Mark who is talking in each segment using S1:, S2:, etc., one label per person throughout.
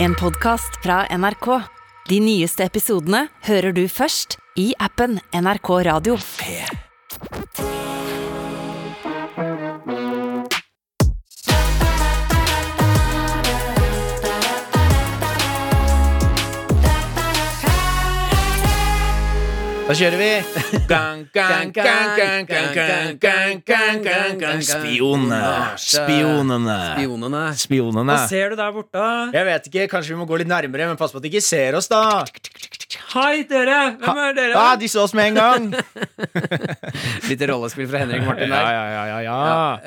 S1: En podcast fra NRK. De nyeste episodene hører du først i appen NRK Radio.
S2: Da kjører vi! Gang, gang, gang, gang, gang, gang, gang, gang, gang, gang. Spionene. Spionene.
S3: Spionene.
S2: Spionene.
S3: Hva ser du der borte?
S2: Jeg vet ikke, Kanskje vi må gå litt nærmere, men pass på at de ikke ser oss, da.
S3: Hei, dere! Hvem er dere?
S2: Ah, de så oss med en gang.
S3: Litt rollespill fra Henrik
S2: Ja,
S3: Martin der.
S2: ja, ja, ja, ja.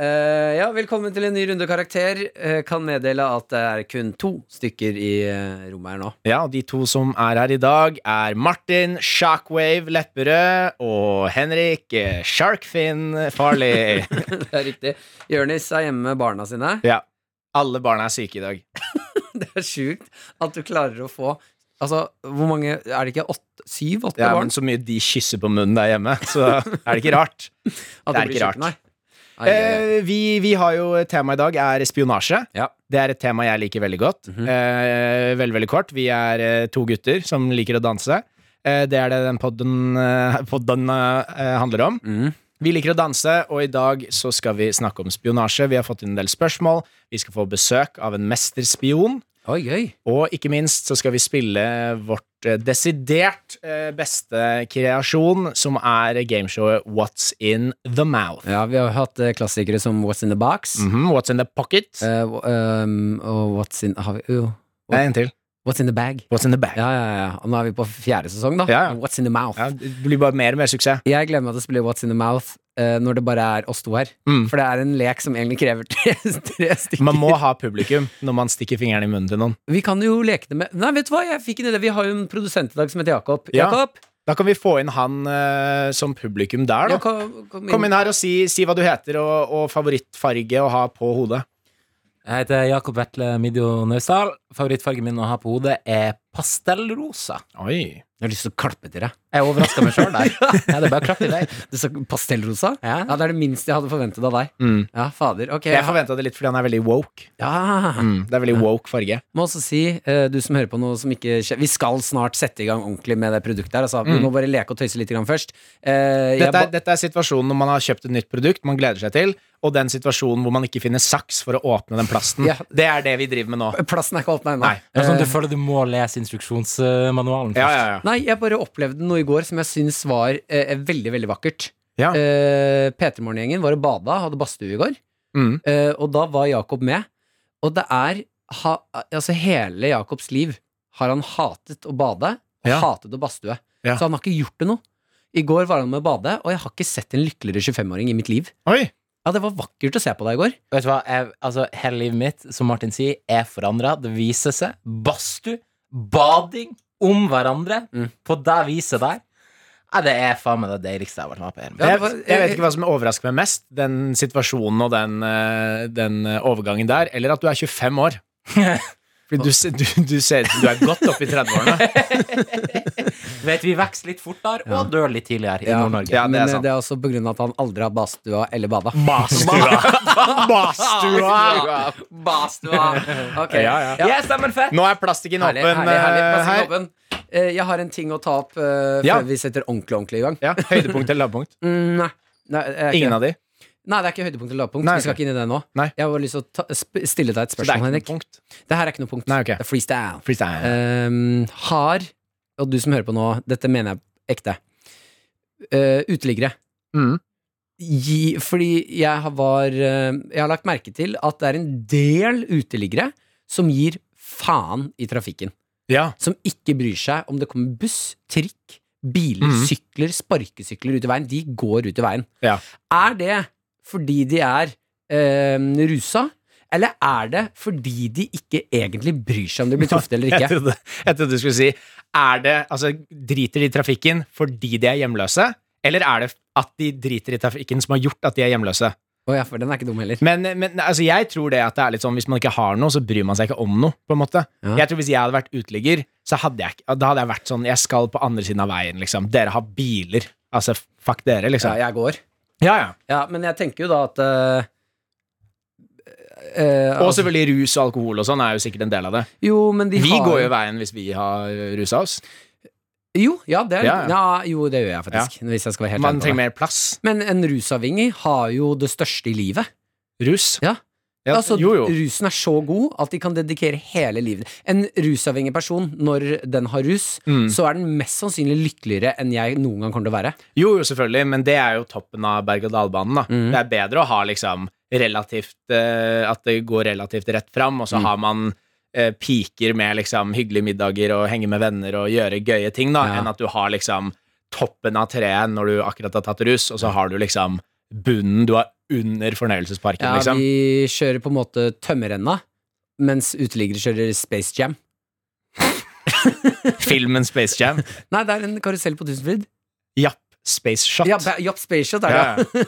S3: Eh, ja, velkommen til en ny runde karakter. Eh, kan meddele at det er kun to stykker i eh, rommet her nå.
S2: ja, og de to som er her i dag, er Martin Shockwave Lepperød og Henrik eh, Sharkfinn Farley.
S3: Det er riktig. Jørnis er hjemme med barna sine.
S2: Ja. Alle barna er syke i dag.
S3: Det er sjukt at du klarer å få Altså, hvor mange Er det ikke åtte? Syv-åtte
S2: Ja,
S3: barn?
S2: men Så mye de kysser på munnen der hjemme, så er det ikke rart.
S3: At
S2: det er
S3: blir
S2: ikke rart.
S3: sjukt, Nei. Ai, ai, ai.
S2: Eh, vi, vi har jo et tema i dag er spionasje.
S3: Ja.
S2: Det er et tema jeg liker veldig godt. eh, veldig, veldig kort. Vi er eh, to gutter som liker å danse. Eh, det er det den podden, eh, podden eh, handler om.
S3: Mm.
S2: Vi liker å danse, og i dag så skal vi snakke om spionasje. Vi har fått inn en del spørsmål. Vi skal få besøk av en mesterspion.
S3: Oi, gøy.
S2: Og ikke minst så skal vi spille vårt eh, desidert eh, beste kreasjon, som er gameshowet What's In The Mouth.
S3: Ja, vi har jo hatt eh, klassikere som What's in the box.
S2: Mhm, what's in the pocket?
S3: Eh, wh- ehm, og What's in har vi, jo,
S2: Nei, en til.
S3: What's in the bag?
S2: What's in the bag?
S3: Ja, ja, ja. Og nå er vi på fjerde sesong, da.
S2: Ja, ja.
S3: What's in the mouth?
S2: Ja, det blir bare mer og mer suksess.
S3: Jeg gleder meg til å spille What's in the mouth eh, når det bare er oss to her.
S2: Mm.
S3: For det er en lek som egentlig krever tre, tre stykker.
S2: Man må ha publikum når man stikker fingeren i munnen til noen.
S3: Vi kan jo leke det med Nei, vet du hva, jeg fikk en idé. Vi har jo en produsent i dag som heter Jakob.
S2: Ja.
S3: Jakob,
S2: Da kan vi få inn han eh, som publikum der,
S3: ja,
S2: da.
S3: kom, kom inn.
S2: Kom inn her og si, si hva du heter, og, og favorittfarge å ha på hodet.
S4: Jeg heter Jakob Vetle Midjo Naustdal. Favorittfargen min å ha på hodet er pastellrosa.
S2: Oi.
S3: Jeg har lyst til å klappe til deg.
S4: Jeg overraska meg sjøl der. Ja, det er bare å klappe i deg.
S3: Du sa pastellrosa?
S4: Ja.
S3: Ja, det er det minste jeg hadde forventet av deg.
S2: Mm.
S3: Ja, fader. Ok.
S2: Jeg forventa det litt fordi han er veldig woke.
S3: ja.
S2: Mm. Det er veldig woke farge.
S3: Må også si, eh, du som hører på noe som ikke skjer Vi skal snart sette i gang ordentlig med det produktet her. Altså. Vi
S4: Mm.
S3: må bare leke og tøyse litt grann først. Eh, jeg
S2: Dette er,
S3: ba-
S2: dette er situasjonen når man har kjøpt et nytt produkt man gleder seg til, og den situasjonen hvor man ikke finner saks for å åpne den plasten.
S3: Ja.
S2: Det er det vi driver med nå.
S3: Plassen er ikke åpna ennå.
S2: Nei.
S4: Det er sånn at du føler du må lese instruksjonsmanualen
S2: Eh. Ja, ja, ja.
S3: Nei, jeg bare opplevde noe i går som jeg syns var eh, veldig, veldig vakkert.
S2: Ja.
S3: Eh, P3 Morgen-gjengen var og bada, hadde badstue i går,
S2: Mm.
S3: eh, og da var Jakob med. Og det er ha, Altså, hele Jakobs liv har han hatet å bade, og
S2: Ja.
S3: hatet å badstue.
S2: Ja.
S3: Så han har ikke gjort det noe. I går var han med å bade, og jeg har ikke sett en lykkeligere 25-åring i mitt liv.
S2: Oi.
S3: Ja, det var vakkert å se på deg i går.
S4: Vet du hva? Jeg, altså, hele livet mitt, som Martin sier, er forandra. Det viser seg. Badstue, bading om hverandre
S3: Mm.
S4: på det viset der. Ja, det er faen meg det deiligste jeg har vært med på. i hele mitt
S3: Ja, det
S4: liv.
S2: jeg,
S3: var-
S2: jeg vet ikke hva som overrasker meg mest. Den situasjonen og den, eh, den eh, overgangen der, eller at du er 25 år. Fordi du, se- du, du ser ut som du er godt oppe i 30-årene.
S4: Vet vi vokser litt fortere og dør litt tidligere i Nord-Norge.
S2: Ja, det er
S3: Men eh,
S2: sant.
S3: det er også på grunn av at han aldri har badstua eller bada.
S2: Badstua!
S3: Badstua! Ok.
S2: Ja, ja.
S4: Jeg stemmer fett!
S2: Nå er plastikken
S3: Herlig,
S2: åpen
S3: herlig, herlig.
S2: eh,
S3: Bare si
S2: her.
S3: jobben. Eh, Jeg har en ting å ta opp eh,
S2: Ja.
S3: før vi setter ordentlig ordentlig i gang.
S2: Ja, høydepunkt eller lavpunkt?
S3: Mm, nei. Nei, det er ikke
S2: Ingen
S3: det.
S2: av de.
S3: nei, det er ikke høydepunkt eller lavpunkt.
S2: Nei,
S3: Vi skal ikke inn i det nå.
S2: Nei.
S3: Jeg har bare lyst til å ta, sp stille deg et
S2: Så det
S3: spørsmål,
S2: er ikke noe
S3: Henrik.
S2: punkt.
S3: Det her er ikke noe punkt.
S2: Nei, ok.
S3: Det er freestyle.
S2: Freestyle.
S3: Ehm, har, og du som hører på nå, dette mener jeg ekte, Eh, uteliggere
S2: Mm.
S3: gi, Fordi jeg har, var, eh, jeg har lagt merke til at det er en del uteliggere som gir faen i trafikken.
S2: Ja.
S3: Som ikke bryr seg om det kommer buss, trikk, biler,
S2: Mhm.
S3: sykler, sparkesykler ut i veien. De går ut i veien.
S2: Ja.
S3: Er det fordi de er eh, rusa? Eller er det fordi de ikke egentlig bryr seg om de blir truffet eller
S2: Jeg
S3: ikke?
S2: trodde, jeg trodde du skulle si er det, altså, Driter de i trafikken fordi de er hjemløse, eller er det at de driter i trafikken som har gjort at de er hjemløse?
S3: Å ja, for den er ikke dum heller.
S2: Men, men altså, jeg tror det at det er litt sånn hvis man ikke har noe, så bryr man seg ikke om noe. på en måte
S3: Ja.
S2: Jeg tror Hvis jeg hadde vært uteligger, så hadde jeg, ikke- da hadde jeg vært sånn Jeg skal på andre siden av veien, liksom. Dere har biler. Altså, fuck dere,
S3: Ja,
S2: liksom.
S3: jeg går.
S2: Ja, ja.
S3: Ja, men jeg tenker jo da at eh, eh,
S2: Og
S3: altså,
S2: selvfølgelig rus og alkohol og sånn er jo sikkert en del av det.
S3: jo, men de
S2: Vi
S3: har,
S2: går jo veien hvis vi har rusa oss.
S3: Jo, ja, det er, ja,
S2: Ja, ja.
S3: jo, det gjør jeg faktisk. Hvis jeg skal være helt
S2: Man
S3: ærlig på
S2: trenger
S3: det.
S2: mer plass.
S3: Men en rusavhengig har jo det største i livet.
S2: Rus.
S3: Ja.
S2: Ja,
S3: altså,
S2: jo, jo.
S3: Rusen er så god at de kan dedikere hele livet. En rusavhengig person, når den har rus,
S2: Mm.
S3: så er den mest sannsynlig lykkeligere enn jeg noen gang kommer til å være.
S2: Jo, jo, selvfølgelig, men det er jo toppen av berg-og-dal-banen. da.
S3: Mm.
S2: Det er bedre å ha liksom relativt eh, At det går relativt rett fram, og så
S3: Mm.
S2: har man eh, piker med liksom hyggelige middager og henge med venner og gjøre gøye ting, da,
S3: Ja.
S2: enn at du har liksom toppen av treet når du akkurat har tatt rus, og så har du liksom bunnen du har under fornøyelsesparken,
S3: Ja,
S2: liksom.
S3: Vi kjører på en måte tømmerrenna, mens uteliggere kjører Space Jam.
S2: Filmen Space Jam.
S3: Nei, det er en karusell på Tusenfryd.
S2: Japp Space Shot.
S3: Ja, ba- Japp Space Shot er det.
S2: Ja, ja.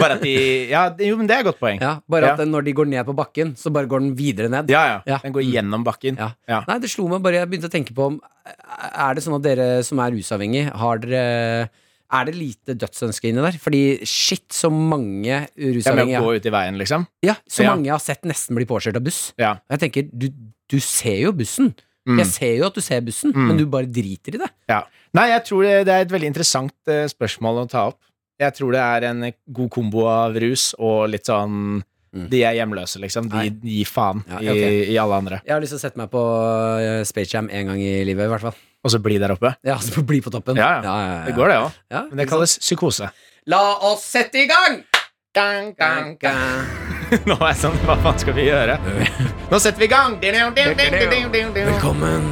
S2: Bare at de Ja, jo, men det er et godt poeng.
S3: Ja, bare
S2: Ja.
S3: at den, når de går ned på bakken, så bare går den videre ned.
S2: Ja, ja.
S3: Ja. Mm.
S2: Den går gjennom bakken.
S3: Ja.
S2: Ja.
S3: Nei, det slo meg bare Jeg begynte å tenke på om Er det sånn at dere som er rusavhengig Har dere Er det lite dødsønske inni der? Fordi shit, så mange
S2: Ja, med
S3: rusavhengige
S2: å gå ut i veien, liksom.
S3: Ja, så
S2: Ja.
S3: mange jeg har sett nesten bli påkjørt av buss
S2: Ja.
S3: Og jeg tenker, du, du ser jo bussen
S2: Mm.
S3: Jeg ser jo at du ser bussen
S2: Mm.
S3: Men du bare driter i det
S2: Ja. Nei, jeg tror det, det er et veldig interessant eh, spørsmål å ta opp. Jeg tror det er en god kombo av rus og litt sånn
S3: Mm.
S2: De er hjemløse, liksom. De
S3: Nei.
S2: gir faen
S3: Ja,
S2: i,
S3: ok.
S2: i alle andre.
S3: Jeg har lyst til å sette meg på eh, Space Jam en gang i livet i hvert fall
S2: Og så bli der oppe.
S3: Ja, altså bli på toppen
S2: Ja, ja.
S3: ja,
S2: Det går, det òg.
S3: Ja,
S2: Men det
S3: ikke sant?
S2: kalles psykose.
S3: La oss sette i gang
S2: Nå er jeg sånn Hva faen skal vi gjøre? Nå setter vi i gang!
S3: Velkommen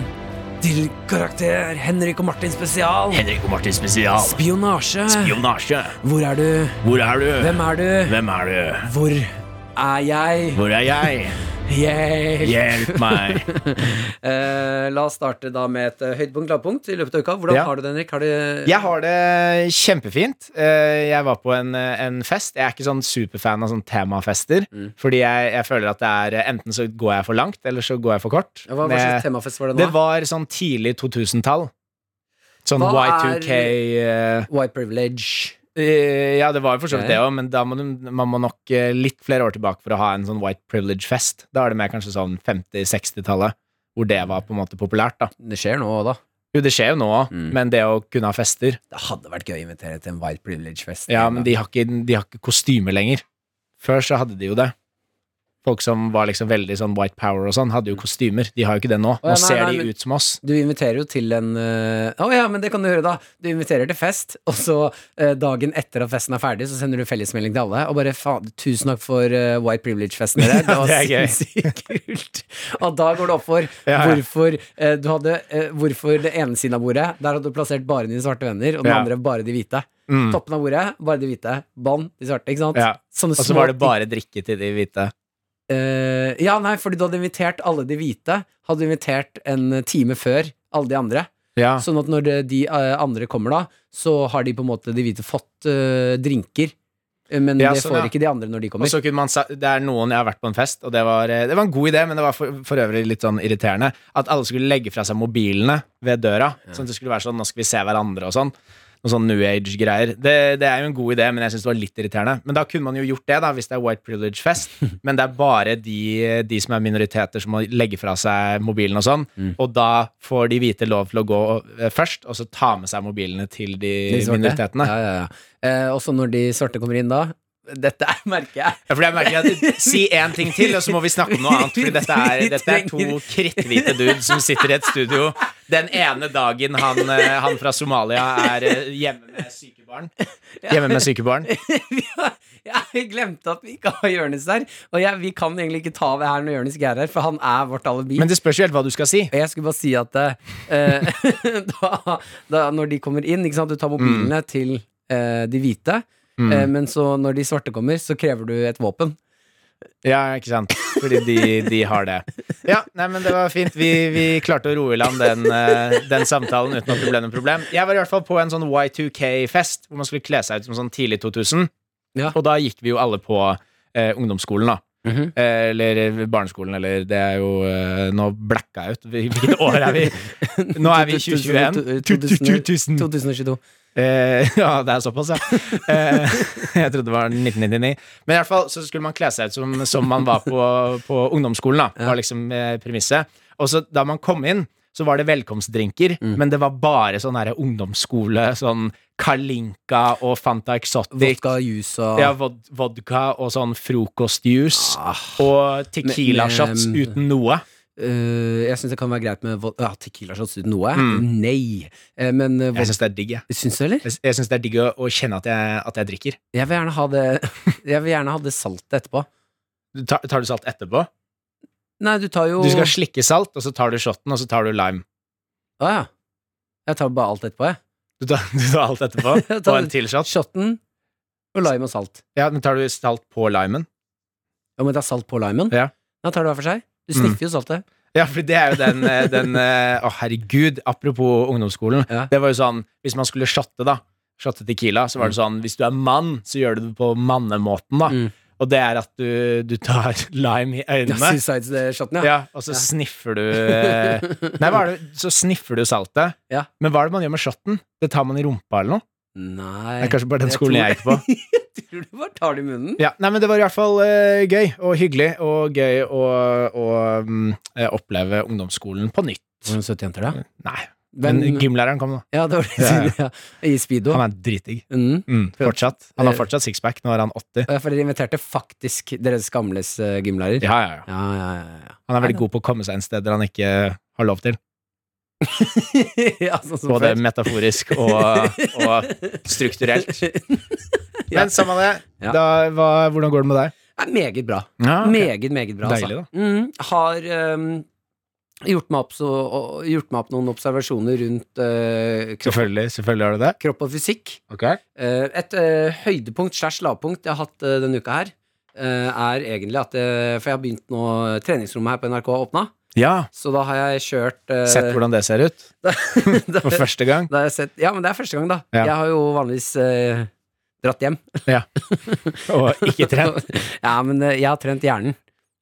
S3: til Karakter Henrik og Martin spesial
S2: Henrik og Martin spesial.
S3: Spionasje.
S2: Spionasje.
S3: Hvor er du?
S2: Hvor er du?
S3: Hvem er du?
S2: Hvem er du?
S3: Hvor er jeg?
S2: Hvor er jeg?
S3: Hjelp!
S2: Hjelp meg.
S3: Eh, la oss starte da med et eh, høydepunkt lavpunkt i løpet av uka. Hvordan
S2: Ja.
S3: har du det, Henrik? Har du
S2: Jeg har det kjempefint. Eh, Jeg var på en, en fest. Jeg er ikke sånn superfan av sånne temafester.
S3: Mm.
S2: Fordi jeg, jeg føler at det er enten så går jeg for langt, eller så går jeg for kort.
S3: Hva, hva
S2: Men
S3: slags temafest var det nå?
S2: det var sånn tidlig 2000-tall. Sånn
S3: Hva er-
S2: Y2K eh,
S3: White privilege.
S2: eh, Ja, det var jo for så vidt
S3: Ja,
S2: det òg, men da må du, man må nok eh, litt flere år tilbake for å ha en sånn white privilege-fest. Da er det mer kanskje sånn 50-60-tallet, hvor det var på en måte populært, da.
S3: Det skjer nå òg, da.
S2: Jo, det skjer jo nå òg,
S3: Mm.
S2: men det å kunne ha fester
S3: Det hadde vært gøy å invitere til en white privilege-fest.
S2: Ja, men de har ikke, de har ikke kostyme lenger. Før så hadde de jo det. Folk som var liksom veldig sånn white power og sånn, hadde jo kostymer. De har jo ikke det nå.
S3: Mm.
S2: Nå
S3: ja, nei,
S2: ser
S3: nei,
S2: de
S3: men-
S2: ut som oss.
S3: Du inviterer jo til en eh, Å ja, men det kan du gjøre, da. Du inviterer til fest, og så eh, dagen etter at festen er ferdig, så sender du fellesmelding til alle. Og bare faen, tusen takk for eh, White Privilege-festen dere. Det var
S2: det er gøy.
S3: sinnssykt kult. Og da går det opp for
S2: Ja, ja.
S3: hvorfor eh, du hadde eh, Hvorfor det ene siden av bordet, der hadde du plassert bare dine svarte venner, og den
S2: Ja.
S3: andre bare de hvite.
S2: Mm.
S3: Toppen av bordet, bare de hvite. Bånd, de svarte, ikke sant?
S2: Ja.
S3: Sånne
S2: Og så
S3: små
S2: var det
S3: ting.
S2: bare drikke til de hvite.
S3: Eh, ja, nei, fordi du hadde invitert alle de hvite, hadde du invitert en time før alle de andre.
S2: Ja.
S3: Sånn at når det- de eh, andre kommer da, så har de på en måte de hvite fått eh, drinker. Eh, Men
S2: Ja,
S3: det
S2: sånn,
S3: får
S2: ja.
S3: ikke de andre når de
S2: Og
S3: kommer.
S2: så kunne man sa, Det er noen Jeg har vært på en fest, og det var, eh, det var en god idé, men det var for, for øvrig litt sånn irriterende. At alle skulle legge fra seg mobilene ved døra. Sånn at det skulle være sånn Nå skal vi se hverandre og sånn. Noe sånn New Age-greier. Det, det er jo en god idé, men jeg syns det var litt irriterende. Men da kunne man jo gjort det, da, hvis det er White Privilege-fest. Men det er bare de, de som er minoriteter, som må legge fra seg mobilen og sånn.
S3: Mm.
S2: Og da får de hvite lov til å gå eh, først, og så ta med seg mobilene til de,
S3: De svarte.
S2: minoritetene.
S3: Ja, ja, ja. Eh, og så når de svarte kommer inn da Dette er, merker jeg.
S2: Ja, fordi jeg merker at Si én ting til, og så må vi snakke om noe annet. Fordi dette er, dette er to kritthvite dudes som sitter i et studio. Den ene dagen han, eh, han fra Somalia er eh, hjemme med syke barn. Hjemme med syke barn.
S3: Vi har- jeg glemte at vi ikke har Jonis der. Og jeg, vi kan egentlig ikke ta det her når Jonis ikke er her, for han er vårt alibi.
S2: Men det spørs jo helt hva du skal si.
S3: Og Jeg skulle bare si at eh, da, da, når de kommer inn, ikke sant, du tar mobilene
S2: Mm.
S3: til eh, de hvite, eh, men så når de svarte kommer, så krever du et våpen.
S2: Ja, ikke sant. Fordi de, de har det. Ja, nei, men det var fint. Vi, vi klarte å roe i land den, eh, den samtalen uten at det ble noe problem. Jeg var i hvert fall på en sånn Y2K-fest hvor man skulle kle seg ut som sånn tidlig 2000.
S3: Ja.
S2: Og da gikk vi jo alle på eh, ungdomsskolen, da.
S3: Mhm.
S2: Eh, Eller barneskolen, eller Det er jo eh, Nå blacka jeg ut. Hvil- Hvilket år er vi? Nå er vi i 2021. 2000.
S3: 2022.
S2: Eh, ja, det er såpass, ja. Eh, jeg trodde det var 1999. Men i hvert fall så skulle man kle seg ut som, som man var på, på ungdomsskolen. da var liksom eh, premisset. Og så da man kom inn, så var det velkomstdrinker,
S3: Mm.
S2: men det var bare sånn her ungdomsskole, sånn Kalinka og Fanta Exotic.
S3: Vodka, juice og
S2: Ja, vod vodka og sånn frokostjuice. Og
S3: Ah. Men- ehm,
S2: tequila-shots
S3: men-
S2: uten noe.
S3: Eh, jeg syns det kan være greit med vod- ja, tequila shots uten noe. Nei. Eh, men uh,
S2: Mm. Jeg syns det er digg, jeg.
S3: syns du, eller?
S2: Jeg, jeg synes det er digg å, å kjenne at jeg, at jeg drikker.
S3: Jeg vil gjerne ha det Jeg vil gjerne ha det saltet etterpå.
S2: Du tar, tar du salt etterpå?
S3: Nei, du tar jo
S2: Du skal slikke salt, og så tar du shoten, og så tar du lime.
S3: Å ja. Jeg tar bare alt etterpå, jeg.
S2: Du tar, du tar alt etterpå,
S3: Jeg
S2: og
S3: tar-
S2: en til shot.
S3: Shotten og lime og salt.
S2: Ja, men tar du salt på limen?
S3: Ja, men det er salt på limen?
S2: Ja.
S3: Da tar du hver for seg. Du
S2: Mm.
S3: sniffer jo saltet.
S2: Ja, for det er jo den, eh, den eh, Å, herregud, apropos ungdomsskolen.
S3: Ja.
S2: Det var jo sånn, hvis man skulle shotte, da, shotte tequila, så var det sånn, hvis du er mann, så gjør du det på mannemåten, da.
S3: Mm.
S2: Og det er at du, du tar lime i øynene.
S3: Suicide-shotten, ja.
S2: Ja, og så sniffer du eh, Nei, hva er det? så sniffer du saltet.
S3: Ja.
S2: Men hva er det man gjør med shotten? Det tar man i rumpa eller noe?
S3: Nei
S2: Det er kanskje bare den
S3: Jeg
S2: skolen
S3: tror-
S2: jeg gikk på.
S3: Tror du bare tar det i munnen?
S2: Ja, nei, men Det var i hvert fall eh, gøy og hyggelig og gøy å å, mm, eh, oppleve ungdomsskolen på nytt.
S3: Hvordan søte jenter, da?
S2: Nei, men,
S3: Men,
S2: gymlæreren kom, da.
S3: ja, det var det
S2: Ja, ja.
S3: jeg sa. Ja. I speedo.
S2: Han er dritdigg.
S3: Mm.
S2: Mm, fortsatt. Han har
S3: Eh.
S2: fortsatt sixpack. Nå er han 80.
S3: Ja, for dere inviterte faktisk deres gamles eh, gymlærer.
S2: Ja, ja, ja.
S3: Ja, ja, ja.
S2: Han er veldig god på å komme seg en sted der han ikke har lov til.
S3: ja. ja sånn som
S2: Både
S3: før.
S2: metaforisk og, og strukturelt.
S3: Ja.
S2: Men samme det.
S3: Ja.
S2: Da, hva, hvordan går det med deg?
S3: Det er meget bra.
S2: Ja,
S3: Meget, meget bra.
S2: Ah, Deilig,
S3: altså. Mm, har ehm, gjort, meg opp så, og, gjort meg opp noen observasjoner rundt eh, kropp,
S2: Selvfølgelig, selvfølgelig har du det.
S3: kropp og fysikk.
S2: Ok
S3: Eh, et eh, høydepunkt slash lavpunkt jeg har hatt eh, denne uka her, eh, er egentlig at eh, For jeg har begynt nå Treningsrommet her på NRK har åpna,
S2: Ja,
S3: så da har jeg kjørt eh,
S2: sett hvordan det ser ut
S3: da-
S2: for første gang.
S3: Da har jeg sett, ja, men det er første gang, da.
S2: Ja.
S3: Jeg har jo vanligvis eh, dratt hjem.
S2: Og ikke trent.
S3: ja, men eh, jeg har trent hjernen.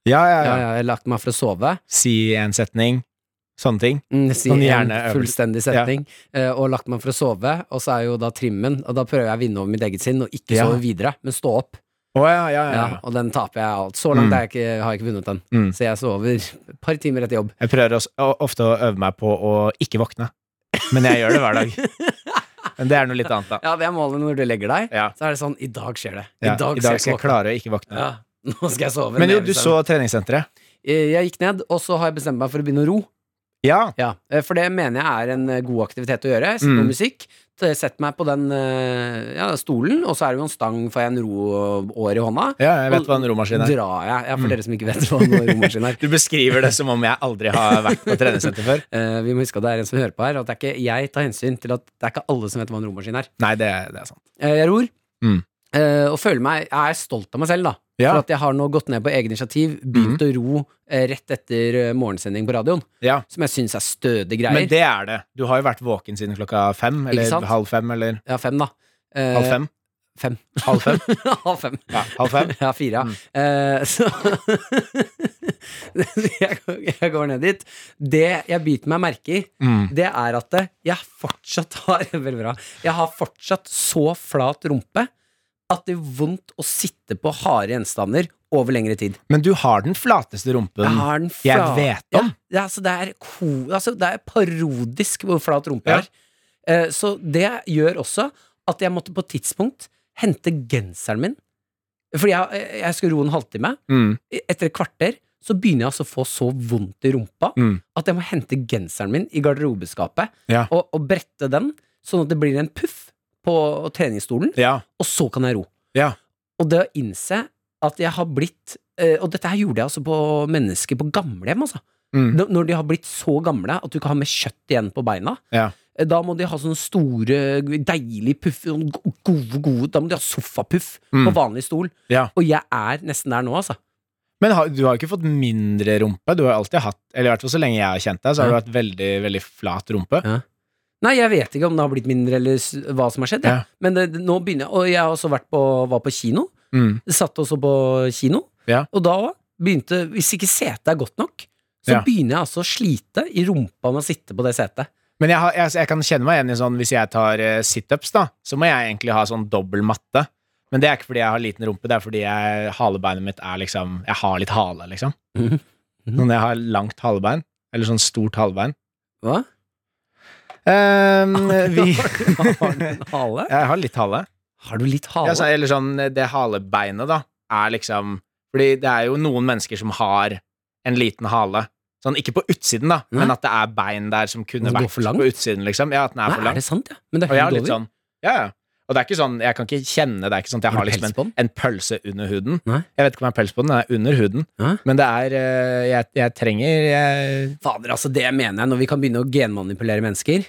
S2: Ja, ja,
S3: Jeg,
S2: ja.
S3: jeg har lagt meg for å sove.
S2: Si en setning. Sånne ting.
S3: Mm, si
S2: Sånn
S3: en
S2: hjerneøvelse.
S3: fullstendig setning. eh, og lagt meg for å sove, og så er jo da trimmen. Og da prøver jeg å vinne over mitt eget sinn, og ikke
S2: Ja.
S3: sove videre, men stå opp.
S2: Å ja, ja, ja.
S3: Ja,
S2: ja.
S3: og den taper jeg alt. Så langt
S2: Mm.
S3: er jeg ikke, har jeg ikke vunnet den.
S2: Mm.
S3: Så jeg sover et par timer etter jobb.
S2: Jeg prøver også, å- ofte å øve meg på å ikke våkne, men jeg gjør det hver dag. Men det er noe litt annet, da.
S3: Ja, det er målet når du legger deg.
S2: Ja.
S3: Så er det sånn I dag skjer det.
S2: Ja,
S3: I dag,
S2: skal jeg
S3: våkne.
S2: klare å ikke våkne.
S3: Ja, nå skal jeg sove.
S2: Men jo,
S3: ned
S2: du
S3: i
S2: så
S3: søvn.
S2: treningssenteret.
S3: Eh, Jeg gikk ned, og så har jeg bestemt meg for å begynne å ro.
S2: Ja.
S3: Ja, eh, for det mener jeg er en eh, god aktivitet å gjøre. Sett på
S2: Mm.
S3: musikk, t- sett meg på den eh, ja, stolen, og så er det jo en stang, får jeg en roår i hånda.
S2: ja, jeg vet hva en romaskin er.
S3: Drar jeg.
S2: Mm.
S3: Ja, for dere som ikke vet hva en romaskin er.
S2: Du beskriver det som om jeg aldri har vært på treningssenter før.
S3: Eh, vi må huske at det er en som hører på her, og at det er ikke jeg tar hensyn til at det er ikke alle som vet hva en romaskin er.
S2: Nei, det, det er sant.
S3: Eh, jeg ror,
S2: Mm.
S3: eh, og føler meg Jeg er stolt av meg selv, da.
S2: Ja. Mm.
S3: For at jeg har nå gått ned på eget initiativ, begynt å ro eh, rett etter eh, morgensending på radioen,
S2: Ja.
S3: som jeg syns er stødige greier.
S2: Men det er det. Du har jo vært våken siden klokka fem,
S3: Ikke sant?
S2: eller halv fem, eller
S3: Ja, fem, da. Eh,
S2: halv fem.
S3: fem.
S2: Halv fem?
S3: halv fem.
S2: Ja, halv fem.
S3: Ja, fire, ja.
S2: Mm.
S3: Eh, så jeg, jeg går ned dit. Det jeg biter meg merke i,
S2: Mm.
S3: det er at jeg fortsatt har Veldig bra. Jeg har fortsatt så flat rumpe at det gjør vondt å sitte på harde gjenstander over lengre tid.
S2: Men du har den flateste rumpen.
S3: Jeg har den
S2: jeg
S3: fla-
S2: vet om.
S3: Ja, altså, det, er ko, altså, det er parodisk hvor flat rumpe
S2: Ja.
S3: jeg har. Eh, så det gjør også at jeg måtte på et tidspunkt hente genseren min. Fordi jeg, jeg skulle ro en halvtime. E-,
S2: Mm.
S3: Etter et kvarter så begynner jeg altså å få så vondt i rumpa
S2: Mm.
S3: at jeg må hente genseren min i garderobeskapet
S2: Ja.
S3: og, og brette den, sånn at det blir en puff på treningsstolen,
S2: Ja.
S3: og så kan jeg ro.
S2: Ja.
S3: Og det å innse at jeg har blitt eh, Og dette her gjorde jeg altså på mennesker på gamlehjem, altså.
S2: Mm.
S3: Når- Når de har blitt så gamle at du ikke har mer kjøtt igjen på beina.
S2: Ja.
S3: eh, Da må de ha sånne store, deilige puff sånne go- gode, gode, Da må de ha sofapuff
S2: Mm.
S3: på vanlig stol.
S2: Ja.
S3: Og jeg er nesten der nå, altså.
S2: Men har, du har jo ikke fått mindre rumpe. Du har jo alltid hatt, eller i hvert fall så lenge jeg har kjent deg, så har du
S3: Ja.
S2: hatt veldig, veldig flat rumpe.
S3: Ja. Nei, jeg vet ikke om det har blitt mindre, eller s- hva som har skjedd. jeg.
S2: Ja.
S3: Men det, det- nå begynner jeg Og jeg har også vært på, var på kino.
S2: Mm.
S3: Satt også på kino.
S2: Ja.
S3: Og da òg begynte Hvis ikke setet er godt nok,
S2: Ja.
S3: så begynner jeg altså å slite i rumpa med å sitte på det setet.
S2: Men jeg, har, jeg, jeg kan kjenne meg igjen i sånn Hvis jeg tar eh, situps, da, så må jeg egentlig ha sånn dobbel matte. Men det er ikke fordi jeg har liten rumpe, det er fordi jeg, halebeinet mitt er liksom Jeg har litt hale, liksom.
S3: Mhm. Mhm.
S2: Når jeg har langt halebein, eller sånn stort halebein
S3: Hva?
S2: Ehm, vi,
S3: Har du en hale?
S2: Jeg har litt hale.
S3: Har du litt
S2: Ja,
S3: hale?
S2: så, eller sånn eh, Det halebeinet, da, er liksom Fordi det er jo noen mennesker som har en liten hale. Sånn, ikke på utsiden, da,
S3: Nei.
S2: men at det er bein der som kunne
S3: Den Altså, går
S2: vært
S3: for langt?
S2: på utsiden, liksom. Ja, at den er
S3: Nei,
S2: for lang.
S3: er det sant, ja? Men det
S2: Og jeg
S3: er
S2: har
S3: hud
S2: litt
S3: over.
S2: sånn Ja, ja. Og det er ikke sånn Jeg kan ikke kjenne Det er ikke sånn at jeg
S3: Har
S2: har
S3: du
S2: liksom
S3: pels på
S2: en,
S3: den?
S2: en pølse under huden.
S3: Nei.
S2: Jeg vet ikke om jeg har pels på den, den er under huden.
S3: Hæ?
S2: Men det er eh, Jeg, jeg trenger eh, jeg,
S3: Fader, altså, det mener jeg. Når vi kan begynne å genmanipulere mennesker,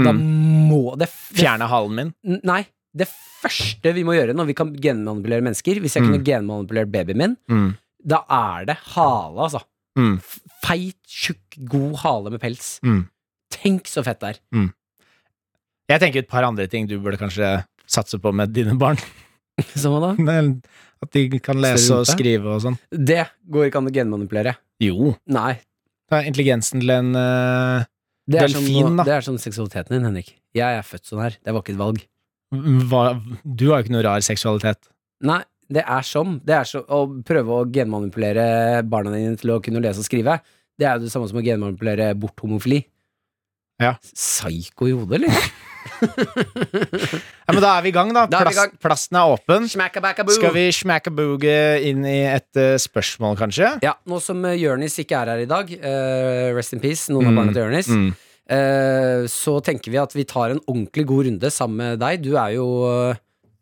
S3: da
S2: Mm.
S3: må det, f- det
S2: Fjerne halen min.
S3: N- Nei. Det første vi må gjøre når vi kan genmanipulere mennesker Hvis jeg
S2: Mm.
S3: kunne genmanipulert babyen min,
S2: Mm.
S3: da er det hale, altså.
S2: Mm.
S3: F- Feit, tjukk, god hale med pels.
S2: Mm.
S3: Tenk så fett det er.
S2: Jeg tenker et par andre ting du burde kanskje satse på med dine barn.
S3: Som hva da?
S2: At de kan lese
S3: Større
S2: og
S3: rumpe?
S2: skrive og sånn.
S3: Det går ikke an å genmanipulere.
S2: Jo.
S3: Nei.
S2: Ta intelligensen til en eh,
S3: Det er, som,
S2: Delfin, da.
S3: det er som seksualiteten din, Henrik. Jeg er født sånn her. Det var ikke et valg.
S2: hva, Du har jo ikke noe rar seksualitet.
S3: Nei, det er som. Det er som å prøve å genmanipulere barna dine til å kunne lese og skrive. Det er jo det samme som å genmanipulere bort homofili.
S2: Ja.
S3: Psyko i hodet, liksom. eller?
S2: Ja, men da er vi i gang, da.
S3: Da er vi i
S2: Plass,
S3: gang.
S2: plassen er åpen.
S3: Smackabacaboo!
S2: Skal vi smacka booge inn i et eh, spørsmål, kanskje?
S3: Ja, nå som eh, Jørnis ikke er her i dag, eh, rest in peace, noen
S2: Mm,
S3: av barna til Jørnis,
S2: Mm.
S3: eh, så tenker vi at vi tar en ordentlig god runde sammen med deg. Du er jo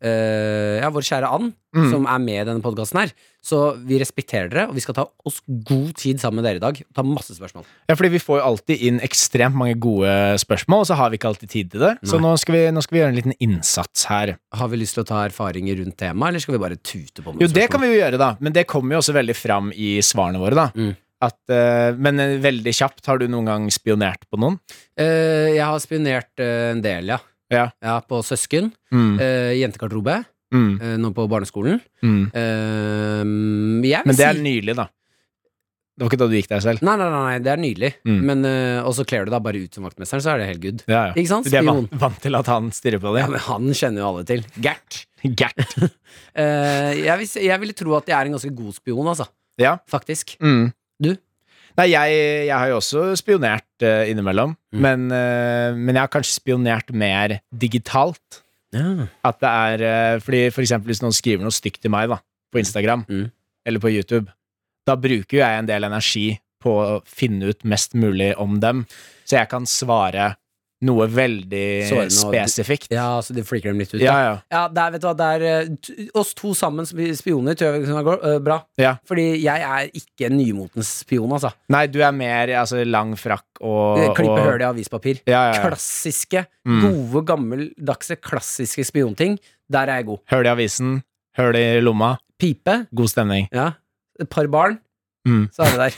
S3: eh, ja, vår kjære And,
S2: Mm.
S3: som er med i denne podkasten her. Så vi respekterer dere, og vi skal ta oss god tid sammen med dere i dag. Ta masse spørsmål.
S2: Ja, fordi vi får jo alltid inn ekstremt mange gode spørsmål, og så har vi ikke alltid tid til det. Så nå skal, vi, nå skal vi gjøre en liten innsats her.
S3: Har vi lyst til å ta erfaringer rundt temaet, eller skal vi bare tute på med
S2: Jo, det kan vi jo gjøre, da, men det kommer jo også veldig fram i svarene våre, da.
S3: Mm.
S2: At, eh, men eh, veldig kjapt, har du noen gang spionert på noen?
S3: Eh, jeg har spionert eh, en del, ja.
S2: Ja.
S3: På søsken.
S2: Mm.
S3: eh, jentegarderobe.
S2: Mm.
S3: eh, nå på barneskolen.
S2: Mm.
S3: Eh, jeg vil
S2: Men det er
S3: si
S2: nylig, da. Det var ikke da du gikk deg selv?
S3: Nei, nei, nei, nei, det er nydelig.
S2: Mm.
S3: Men, eh, og så kler du deg bare ut som vaktmesteren, så er det helt good.
S2: Ja, ja.
S3: Ikke sant?
S2: De er
S3: Spion.
S2: vant, vant til at han stirrer på
S3: Ja,
S2: dem.
S3: men han kjenner jo alle til. Gert.
S2: Gert.
S3: Eh, jeg, vil, si- jeg ville tro at jeg er en ganske god spion, altså.
S2: Ja.
S3: Faktisk.
S2: Mm.
S3: Du?
S2: Nei, jeg, jeg har jo også spionert eh, innimellom.
S3: Mm.
S2: Men, eh, men jeg har kanskje spionert mer digitalt. At det er eh, Fordi for eksempel hvis noen skriver noe stygt til meg da på Instagram
S3: Mm.
S2: eller på YouTube, da bruker jo jeg en del energi på å finne ut mest mulig om dem, så jeg kan svare noe veldig
S3: Sårende og-
S2: spesifikt.
S3: Ja, så det freaker dem litt ut.
S2: Ja,
S3: da.
S2: ja.
S3: ja det er, vet du hva, det er eh, t- oss to sammen som blir spioner, tror jeg liksom er go- eh, bra.
S2: Ja.
S3: Fordi jeg er ikke en nymotens spion, altså.
S2: Nei, du er mer altså, lang frakk og
S3: Eh, Klippe
S2: og-
S3: høl i avispapir.
S2: Ja, ja, ja.
S3: Klassiske,
S2: Mm.
S3: gode, gammeldagse, klassiske spionting. Der er jeg god.
S2: Høl i avisen, høl i lomma.
S3: Pipe.
S2: God stemning.
S3: Ja. Et par barn,
S2: Mm.
S3: så er det der.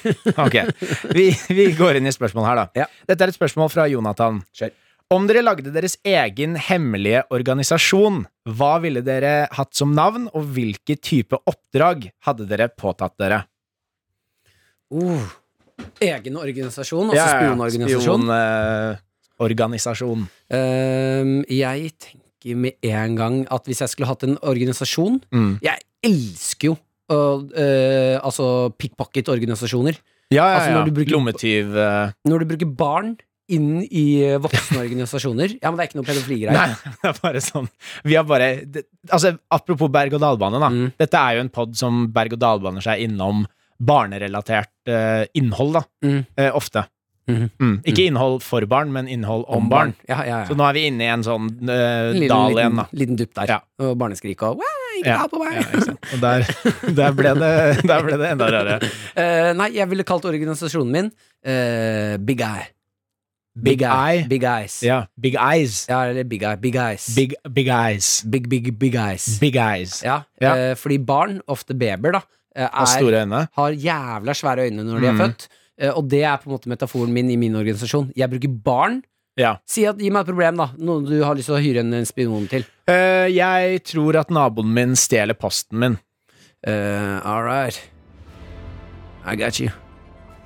S2: Ok, vi, vi går inn i spørsmål her da
S3: Ja.
S2: Dette er et spørsmål fra Jonathan
S3: Kjør.
S2: Om dere lagde deres egen hemmelige organisasjon Hva ville dere hatt som navn Og hvilke type oppdrag hadde dere påtatt dere?
S3: Uh. Egen organisasjon, altså spionorganisasjon.
S2: eh, Spionorganisasjon
S3: Ehm, jeg tenker med en gang at hvis jeg skulle hatt en organisasjon
S2: mm.
S3: Jeg elsker jo å, eh, altså pickpocket-organisasjoner.
S2: Ja, ja,
S3: Altså,
S2: ja,
S3: når du bruker-
S2: lommetyv eh,
S3: Når du bruker barn inn i eh, voksne organisasjoner Ja, men det er ikke noe
S2: Nei,
S3: pedofili-greier.
S2: det er bare sånn Vi har bare det, Altså, apropos berg-og-dalbane da
S3: Mm.
S2: Dette er jo en podd som berg-og-dalbaner seg innom Barnerelatert eh, innhold da
S3: Mm.
S2: eh, Ofte
S3: Mhm.
S2: mm. Ikke innhold for barn, men innhold om, barn.
S3: Ja, ja, ja.
S2: Så nå er vi inne i en sånn eh,
S3: En liten,
S2: dal
S3: liten,
S2: igjen da
S3: liten dupp der.
S2: Ja.
S3: Og barneskrik og «Wei, ikke
S2: Ja,
S3: ta på meg!
S2: ja, ikke sant. Og der, der, ble det, der ble det enda rarere
S3: Eh, nei, jeg ville kalt organisasjonen min eh, Big Eye.
S2: Big Eye.
S3: Big Eyes.
S2: Ja, Big Eyes
S3: Ja, eller Big Eye. Big Eyes.
S2: Big, big Eyes
S3: big, big, big Eyes.
S2: Big Eyes
S3: Ja,
S2: Ja.
S3: eh, fordi barn, ofte babyer, da, eh,
S2: Har
S3: er,
S2: store øyne
S3: har jævla svære øyne når de er
S2: Mhm.
S3: født. Eh, og det er på en måte metaforen min i min organisasjon. Jeg bruker barn.
S2: Ja.
S3: Si at, Gi meg et problem, da. Noe du har lyst til å hyre en spion til.
S2: Eh, Jeg tror at naboen min stjeler posten min
S3: eh, All right. I got you.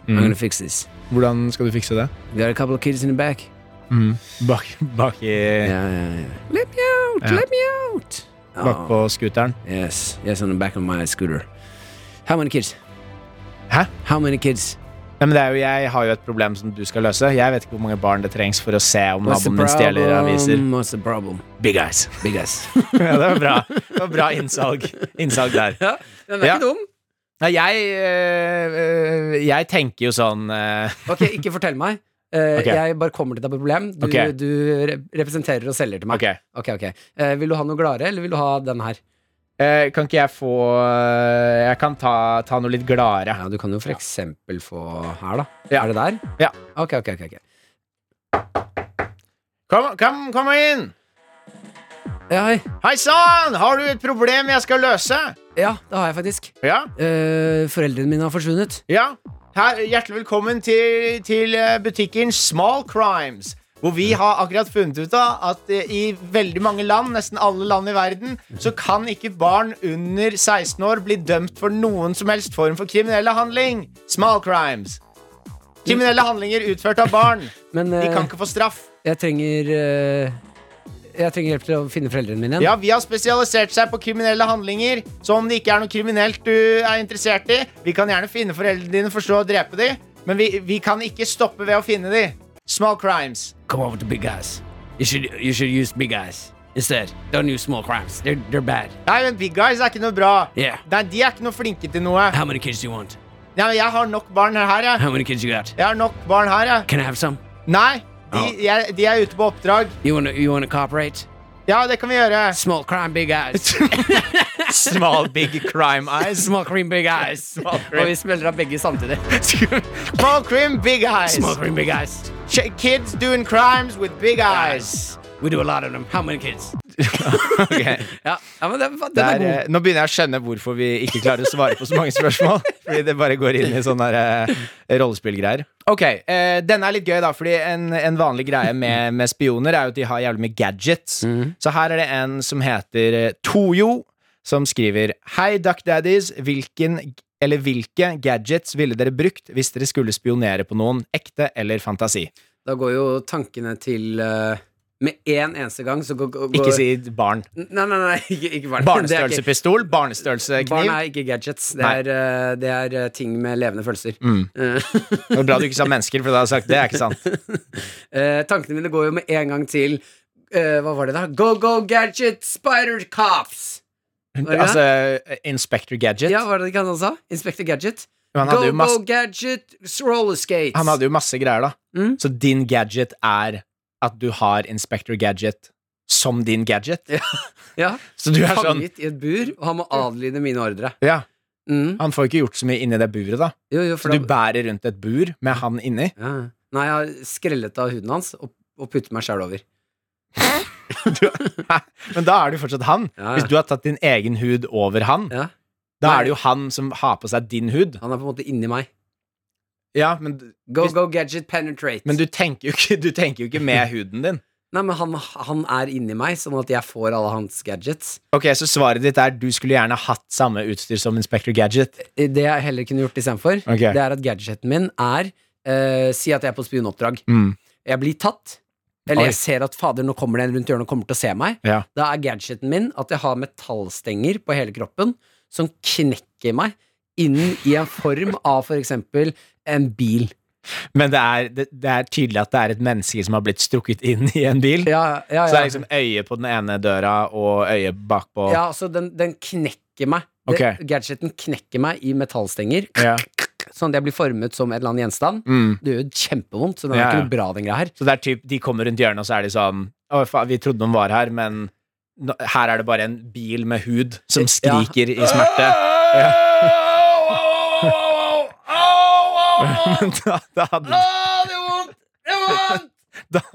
S3: I'm
S2: Mm.
S3: gonna fix this.
S2: Hvordan skal du fikse det?
S3: Got a couple of kids in the back.
S2: Mm. Bak, bak, i,
S3: Yeah, yeah, yeah. Let me out!
S2: Ja.
S3: Let me out!
S2: bak på scooteren?
S3: Yes, yes, on the back of my scooter. How many kids?
S2: Hæ?
S3: How many kids?
S2: Nei, men det er jo, jeg har jo et problem som du skal løse. Jeg vet ikke hvor mange barn det trengs for å se om naboen min stjeler aviser.
S3: What's the problem?
S2: Big eyes.
S3: Big ass.
S2: ja, det var bra. Det var bra innsalg. Innsalg der.
S3: ja, den
S2: er ikke
S3: dum.
S2: Nei, jeg, øh, øh, jeg tenker jo sånn øh,
S3: Ok, ikke fortell meg. Eh,
S2: Ok.
S3: Jeg bare kommer til deg med problem. Du,
S2: Ok.
S3: du re- representerer og selger til meg.
S2: Ok.
S3: Ok, ok. Eh, vil du ha noe gladere, eller vil du ha den her?
S2: Eh, kan ikke jeg få øh, Jeg kan ta, ta noe litt gladere.
S3: Ja, Du kan jo for eksempel få her, da.
S2: Ja.
S3: Er det der?
S2: Ja.
S3: Ok, ok, ok. ok.
S2: Kom, kom, kom inn!
S3: Ja, hei.
S2: Hei sann! Har du et problem jeg skal løse?
S3: ja, det har jeg faktisk.
S2: Ja?
S3: Eh, foreldrene mine har forsvunnet.
S2: Ja, her, hjertelig velkommen til, til eh, butikken Small Crimes. Hvor vi har akkurat funnet ut av at eh, i veldig mange land, nesten alle land i verden, så kan ikke barn under 16 år bli dømt for noen som helst form for kriminelle handling. Small crimes. Kriminelle handlinger utført av barn.
S3: Men
S2: De
S3: eh,
S2: kan ikke få straff.
S3: jeg trenger eh, Jeg trenger hjelp til å finne foreldrene mine igjen.
S2: Ja, Vi har spesialisert seg på kriminelle handlinger. Så om det ikke er noe kriminelt du er interessert i, vi kan gjerne finne foreldrene dine, forstå og drepe dem, men vi, vi kan ikke stoppe ved å finne dem. Small crimes.
S3: Come over to big guys. You should, you should use big guys instead. Don't use small crimes. They're, they're bad.
S2: Nei, men Big guys er ikke noe bra.
S3: Yeah.
S2: Nei, De er ikke noe flinke til noe.
S3: How many kids do you want?
S2: Nei, men Jeg har nok barn her, jeg.
S3: How many kids you got?
S2: Jeg har nok barn her, jeg.
S3: Can I have some?
S2: Nei, de,
S3: Ja.
S2: jeg, de er ute på oppdrag.
S3: You want to you want to cooperate?
S2: Ja, det kan vi gjøre.
S3: Small crime, big eyes.
S2: Small big crime eyes.
S3: Small cream, big eyes.
S2: cream.
S3: Og vi smeller av begge samtidig.
S2: Small crime, big eyes.
S3: Small cream, big eyes.
S2: Ch- Kids doing crimes with big eyes.
S3: We do a lot of them. How many kids?
S2: Okay.
S3: Ja, ja men den, den
S2: Det
S3: er
S2: er,
S3: god.
S2: eh, nå begynner jeg å skjønne hvorfor vi ikke klarer å svare på så mange spørsmål. Fordi det bare går inn i sånne der, eh, rollespillgreier. Ok, eh, denne er litt gøy, da. Fordi en, en vanlig greie med, med spioner er jo at de har jævlig mye gadgets.
S3: Mhm.
S2: Så her er det en som heter eh, Toyo, som skriver Hei, Duck Daddies. Hvilken eller hvilke gadgets ville dere brukt hvis dere skulle spionere på noen? Ekte eller fantasi?
S3: Da går jo tankene til eh, Med en eneste gang så går, går
S2: Ikke si barn.
S3: Nei, nei, nei, ikke, ikke barn. Det er ikke-
S2: Barnestørrelsepistol,
S3: Barn
S2: barnestørrelsekniv.
S3: er ikke gadgets. Det
S2: Nei.
S3: er, eh, det er eh, ting med levende følelser.
S2: Mm.
S3: Eh,
S2: Det var Bra du ikke sa mennesker, for da hadde jeg sagt det er ikke sant.
S3: eh, tankene mine går jo med en gang til eh, Hva var det da? Go, go, gadget, spider cops! Var det
S2: Altså Inspector Gadget.
S3: Ja, var det ikke han også? Inspector Gadget?
S2: Men han
S3: Go,
S2: hadde, jo masse,
S3: go, gadget, roller skates!
S2: han hadde jo masse greier, da.
S3: Mm.
S2: Så din gadget er at du har Inspector Gadget som din gadget.
S3: ja,
S2: Så du er sånn
S3: fanget i et bur, og han må adlyde mine ordre.
S2: ja,
S3: Mm.
S2: Han får ikke gjort så mye inni det buret, da.
S3: Jo, jo,
S2: Så
S3: for
S2: du
S3: da,
S2: bærer rundt et bur med han inni.
S3: ja. Nei, jeg har skrellet av huden hans og, og puttet meg sjæl over.
S2: Men da er du fortsatt han.
S3: Ja, ja.
S2: Hvis du har tatt din egen hud over han,
S3: Ja.
S2: da
S3: Nei.
S2: er det jo han som har på seg din hud.
S3: Han er på en måte inni meg.
S2: Ja, men,
S3: Go,
S2: Hvis-
S3: go, gadget, penetrate.
S2: men du, tenker jo ikke, du tenker jo ikke med huden din.
S3: Nei, men han, han er inni meg, sånn at jeg får alle hans gadgets.
S2: Ok, Så svaret ditt er du skulle gjerne hatt samme utstyr som Inspector Gadget.
S3: Eh, Det jeg heller kunne gjort istedenfor,
S2: Ok.
S3: det er at gadgeten min er eh, Si at jeg er på spionoppdrag.
S2: Mm.
S3: Jeg blir tatt. Eller
S2: Oi.
S3: jeg ser at fader, nå kommer det en rundt hjørnet og kommer til å se meg.
S2: Ja.
S3: Da er gadgeten min at jeg har metallstenger på hele kroppen som knekker meg inn i en form av for eksempel en bil.
S2: Men det er, det, det er tydelig at det er et menneske som har blitt strukket inn i en bil.
S3: Ja, ja, ja.
S2: Så det er liksom øye på den ene døra og øye bakpå.
S3: ja så den, den knekker meg.
S2: Ok.
S3: Det, gadgeten knekker meg i metallstenger,
S2: Ja.
S3: sånn at jeg blir formet som en eller annen gjenstand.
S2: Mm.
S3: Det gjør jo kjempevondt, så den er
S2: Ja,
S3: ikke
S2: ja.
S3: noe bra, den greia her.
S2: Så det er typ, de kommer rundt hjørnet, og så er de sånn Å, faen, vi trodde noen var her, men nå- her er det bare en bil med hud som skriker i smerte. Ja. Men da, da hadde da,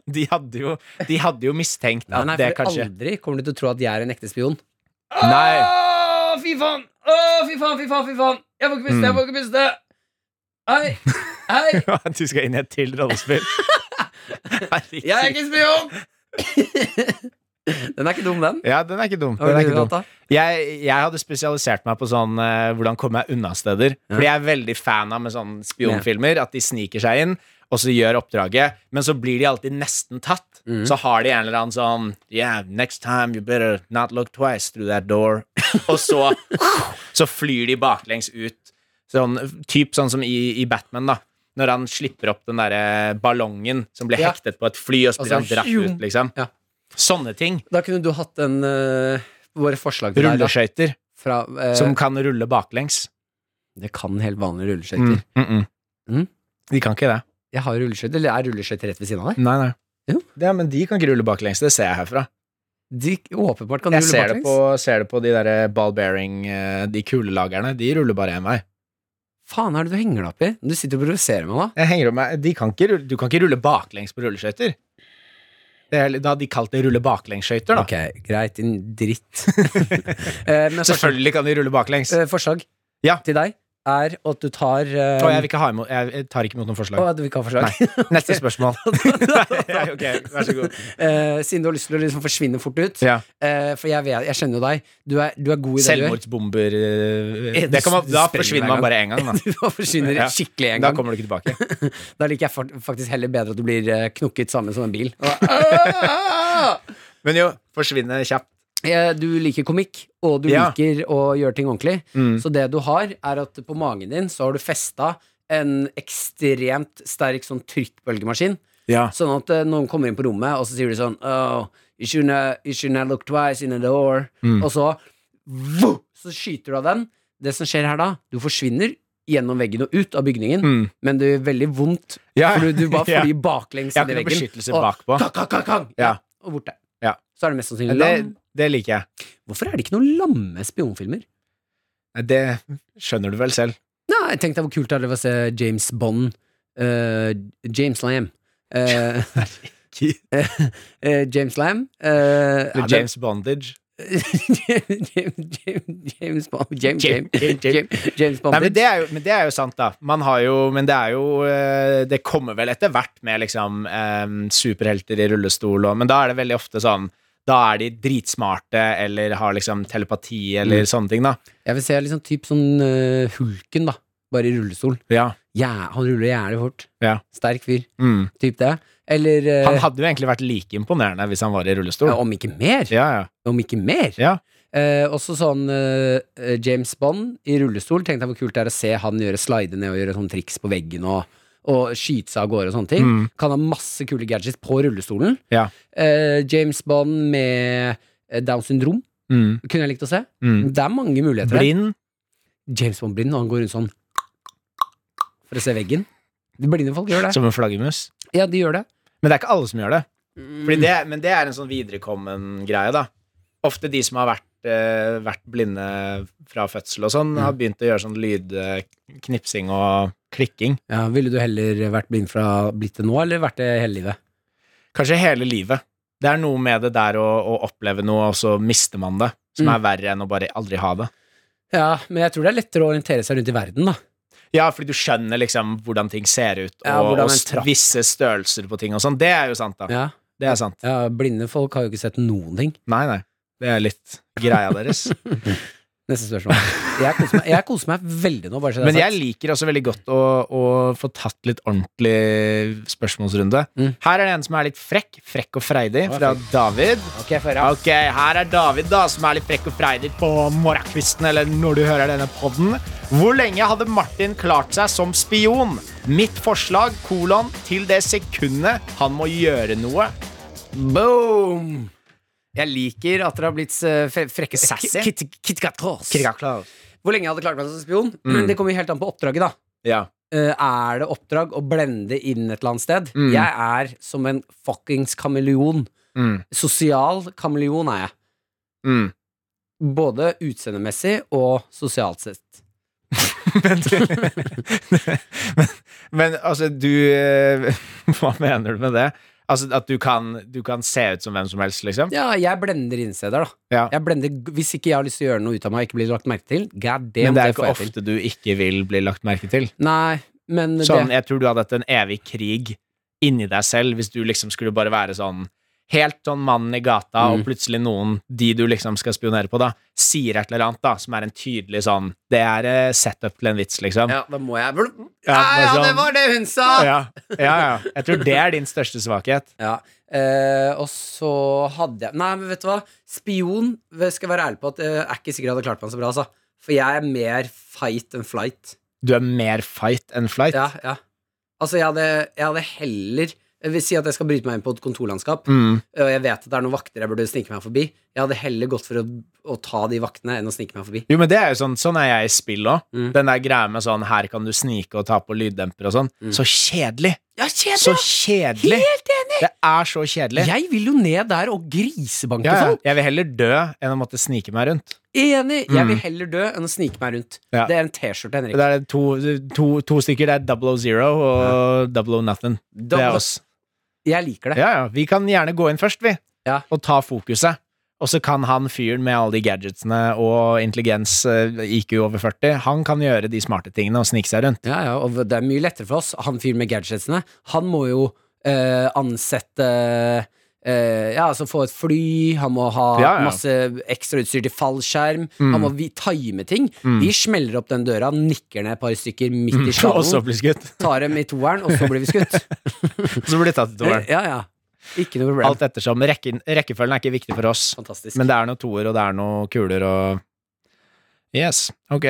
S2: de, hadde jo, de hadde jo mistenkt
S3: Nei,
S2: at
S3: nei,
S2: det
S3: for
S2: kanskje
S3: aldri kommer du til å tro at jeg er en ekte spion.
S2: Nei.
S3: Å, fy faen! Å, fy faen, fy faen, fy faen! Jeg får ikke puste, jeg får ikke puste! Hei! Hei!
S2: Du skal inn i et til rollespill. Herregud.
S3: Jeg er ikke spion! Den er ikke dum, den.
S2: Ja, den er ikke dum.
S3: Hva
S2: Den er
S3: ville
S2: ikke
S3: du
S2: dum.
S3: hatt da?
S2: Jeg, jeg hadde spesialisert meg på sånn eh, hvordan komme meg unna steder. Fordi jeg er veldig fan av med sånne spionfilmer at de sniker seg inn, og så gjør oppdraget, men så blir de alltid nesten tatt.
S3: Mm.
S2: Så har de en eller annen sånn Yeah, next time you better not look twice through that door. og så, så flyr de baklengs ut. Sånn, typ sånn som i, i Batman, da. Når han slipper opp den derre ballongen som blir
S3: Ja.
S2: hektet på et fly, og så blir
S3: Og så
S2: han dratt
S3: tjum.
S2: ut, liksom.
S3: Ja.
S2: Sånne ting.
S3: Da kunne du hatt en eh, Våre forslag til deg, da.
S2: Rulleskøyter
S3: Fra, eh,
S2: som kan rulle baklengs.
S3: Det kan helt vanlige
S2: Mm,
S3: rulleskøyter.
S2: mm, mm.
S3: Mm.
S2: De kan ikke det.
S3: Jeg har rulleskøyter. Eller er rulleskøyter rett ved siden av deg?
S2: Nei, nei.
S3: Jo.
S2: Ja, men de kan ikke rulle baklengs. Det ser jeg herfra.
S3: De, åpenbart kan du
S2: Jeg
S3: rulle
S2: ser det,
S3: baklengs.
S2: på, ser det på de der ball bearing, eh, de kulelagerne. De ruller bare én vei.
S3: Faen, hva er det du henger deg opp i? Du sitter og provoserer meg nå.
S2: Jeg henger opp meg. De kan ikke rulle, du kan ikke rulle baklengs på rulleskøyter. Det er- Da hadde de kalt det rulle baklengsskøyter, da.
S3: Ok, greit, din dritt. Eh, men forslag,
S2: Selvfølgelig kan de rulle baklengs.
S3: eh, forslag
S2: Ja.
S3: til deg er at du tar eh,
S2: Og jeg, vil ikke ha imot, jeg jeg tar ikke imot noen
S3: å,
S2: forslag.
S3: du vil ikke ha forslag?
S2: Neste spørsmål. Nei, ok, vær så god.
S3: Altså, Eh, siden du har lyst til å liksom forsvinne fort ut.
S2: Ja.
S3: eh, for jeg, vet, jeg kjenner jo deg. Du er, du er god i det du gjør.
S2: Selvmordsbomber eh,
S3: Eh,
S2: det kan man,
S3: du
S2: Da
S3: sprenger
S2: forsvinner
S3: hver
S2: man bare én gang, da.
S3: Du forsvinner
S2: Ja.
S3: skikkelig en
S2: Da
S3: gang.
S2: kommer du ikke tilbake.
S3: Da liker jeg fort- faktisk heller bedre at du blir eh, knukket sammen som en bil.
S2: Men jo, forsvinne kjapt.
S3: Eh, Du liker komikk, og du
S2: Ja.
S3: liker å gjøre ting ordentlig.
S2: Mm.
S3: Så det du har, er at på magen din så har du festa en ekstremt sterk sånn trykkbølgemaskin.
S2: Ja.
S3: Sånn at eh, noen kommer inn på rommet, og så sier de sånn oh, you, shouldn't have, you shouldn't have looked twice in the door.
S2: Mm.
S3: Og så vuh, Så skyter du av den. Det som skjer her da, du forsvinner gjennom veggen og ut av bygningen,
S2: Mm.
S3: men det gjør veldig vondt.
S2: Ja.
S3: For du, du bare
S2: Ja.
S3: flyr baklengs
S2: Jeg har
S3: inn
S2: ikke noe
S3: i veggen.
S2: beskyttelse
S3: og
S2: bakpå.
S3: kang, kang, kang, kang,
S2: Ja.
S3: Og borte.
S2: Ja.
S3: Så er det mest sannsynlig
S2: Det,
S3: lam.
S2: det liker jeg.
S3: Hvorfor er det ikke noen lamme spionfilmer?
S2: Nei, Det skjønner du vel selv.
S3: Nei, tenk deg hvor kult det hadde vært å se James Bond eh, James Lamb Eh, eh, James Lamb eh, ja,
S2: Eller
S3: det-
S2: James Bondage.
S3: James, James, James Bond James,
S2: James-
S3: James, James, James, Bond
S2: Nei, men, det er jo, men det er jo sant, da. Man har jo, men det er jo eh, Det kommer vel etter hvert med liksom eh, superhelter i rullestol og Men da er det veldig ofte sånn Da er de dritsmarte eller har liksom telepati eller sånne ting, da.
S3: Jeg vil se liksom typ sånn eh, Hulken da Bare i rullestol
S2: Ja.
S3: ja, Han ruller jævlig fort
S2: Ja.
S3: Sterk fyr,
S2: Mm.
S3: typ det Eller, eh,
S2: Han hadde jo egentlig vært like imponerende hvis han var i rullestol.
S3: ja, om ikke mer
S2: Ja, ja.
S3: Om ikke mer
S2: Ja.
S3: Eh, Også sånn eh, eh, James Bond i rullestol Tenkte jeg hvor kult det er å se han gjøre slide ned Og gjøre sånn triks på veggen og, og skyte seg av gårde og sånne ting
S2: Mm.
S3: Kan ha masse kule gadgets på rullestolen
S2: Ja.
S3: Eh, James Bond med eh, Down syndrom
S2: Mm.
S3: Kunne jeg likt å se
S2: Mm.
S3: Det er mange muligheter der.
S2: Blind.
S3: James Bond blind, og han går rundt sånn For å se veggen. De blinde folk gjør det.
S2: Som en flaggermus.
S3: Ja, de gjør det.
S2: Men det er ikke alle som gjør det.
S3: Mm.
S2: Fordi det men det er en sånn viderekommen greie, da. Ofte de som har vært, eh, vært blinde fra fødsel og
S3: Mm.
S2: sånn, har begynt å gjøre sånn lydknipsing og klikking.
S3: Ja, Ville du heller vært blind fra blitt det nå, eller vært det hele livet?
S2: Kanskje hele livet. Det er noe med det der å, å oppleve noe, og så mister man det, som
S3: Mm.
S2: er verre enn å bare aldri ha det.
S3: Ja, men jeg tror det er lettere å orientere seg rundt i verden, da.
S2: Ja, fordi du skjønner liksom hvordan ting ser ut, og,
S3: Ja, hvordan
S2: og
S3: en
S2: s-
S3: trapp-
S2: visse størrelser på ting og sånn. Det er jo sant, da.
S3: Ja.
S2: Det er sant.
S3: ja, Blinde folk har jo ikke sett noen ting.
S2: Nei, nei. Det er litt greia deres.
S3: Neste spørsmål. Jeg koser meg, jeg koser meg veldig nå, bare så det
S2: Men
S3: er
S2: jeg
S3: sagt.
S2: liker også veldig godt å, å få tatt litt ordentlig spørsmålsrunde.
S3: Mm.
S2: Her er det en som er litt frekk. Frekk og freidig
S3: Ja,
S2: fra David.
S3: Ok, jeg får høre.
S2: Ok, Her er David, da, som er litt frekk og freidig på morgenkvisten. Eller når du hører denne podden. Hvor lenge hadde Martin klart seg som spion? Mitt forslag, kolon, til det sekundet han må gjøre noe.
S3: Boom! Jeg liker at dere har blitt eh, fre- frekke
S2: Sassy.
S3: Kit- Kitkatos.
S2: Kirkaklar.
S3: Hvor lenge jeg hadde klart meg som spion? Det kommer jo helt an på oppdraget, da.
S2: Ja.
S3: Eh, er det oppdrag å blende inn et eller annet sted?
S2: Mm.
S3: Jeg er som en fuckings kameleon.
S2: Mm.
S3: Sosial kameleon er jeg.
S2: Mm.
S3: Både utseendemessig og sosialt sett.
S2: men, men, men altså, du eh, Hva mener du med det? Altså At du kan, du kan se ut som hvem som helst, liksom?
S3: Ja, jeg blender innsteder, da.
S2: Ja.
S3: Jeg blender, g- hvis ikke jeg har lyst til å gjøre noe ut av meg og ikke blir lagt merke til, god damn,
S2: Men det er
S3: får
S2: ikke
S3: jeg til.
S2: ofte du ikke vil bli lagt merke til.
S3: Nei, men
S2: Sånn,
S3: det
S2: Jeg tror du hadde hatt en evig krig inni deg selv hvis du liksom skulle bare være sånn helt sånn mannen i gata, og
S3: Mm.
S2: plutselig noen, de du liksom skal spionere på, da, sier et eller annet da, som er en tydelig sånn Det er eh, setup til en vits, liksom.
S3: Ja, da må jeg
S2: Ja,
S3: Ja,
S2: bare
S3: ja,
S2: sånn.
S3: det var det hun sa!
S2: ja, ja. ja. Jeg tror det er din største svakhet.
S3: Ja. Eh, og så hadde jeg Nei, men vet du hva? Spion skal jeg være ærlig på at eh, er ikke sikkert jeg hadde klart meg så bra, altså. For jeg er mer fight enn flight.
S2: Du er mer fight enn flight.
S3: Ja, ja. Altså, jeg hadde, jeg hadde heller jeg vil si at jeg skal bryte meg inn på et kontorlandskap,
S2: Mm.
S3: og jeg vet at det er noen vakter jeg burde snike meg forbi. Jeg hadde heller gått for å, å ta de vaktene enn å snike meg forbi.
S2: Jo, men det er jo sånn Sånn er jeg i spill òg.
S3: Mm.
S2: Den der greia med sånn Her kan du snike og ta på lyddemper og sånn.
S3: Mm.
S2: Så kjedelig!
S3: Ja, kjedelig!
S2: Så kjedelig! Helt enig! Det er så kjedelig.
S3: Jeg sånn. vil jo ned der og grisebanke
S2: Ja, ja.
S3: folk.
S2: Jeg vil heller dø enn å måtte snike meg rundt.
S3: Enig. Jeg
S2: Mm.
S3: vil heller dø enn å snike meg rundt.
S2: Ja.
S3: Det er en T-skjorte, Henrik.
S2: Det er to, to, to stykker. Det er double o zero og double o nothing. Det er
S3: Double- oh
S2: oss.
S3: Jeg liker det.
S2: Ja, ja. Vi kan gjerne gå inn først, vi.
S3: Ja.
S2: Og ta fokuset. Og så kan han fyren med alle de gadgetsene og intelligens, eh, IQ over 40, han kan gjøre de smarte tingene og snike seg rundt.
S3: Ja, ja, og det er mye lettere for oss. Han fyren med gadgetsene, han må jo eh, ansette eh, Ja, altså få et fly, han må ha
S2: Ja, ja.
S3: masse ekstrautstyr til fallskjerm, han må vi time ting.
S2: Mm.
S3: Vi smeller opp den døra, nikker ned et par stykker midt i
S2: Og så
S3: skallen,
S2: bli skutt.
S3: tar dem i toeren, og så blir vi skutt.
S2: Og så blir det tatt i toeren.
S3: ja, ja. Ikke noe problem.
S2: Alt ettersom. Rekken, rekkefølgen er ikke viktig for oss.
S3: eh, Fantastisk.
S2: Men det er noen toer, og det er noen kuler, og Yes, ok.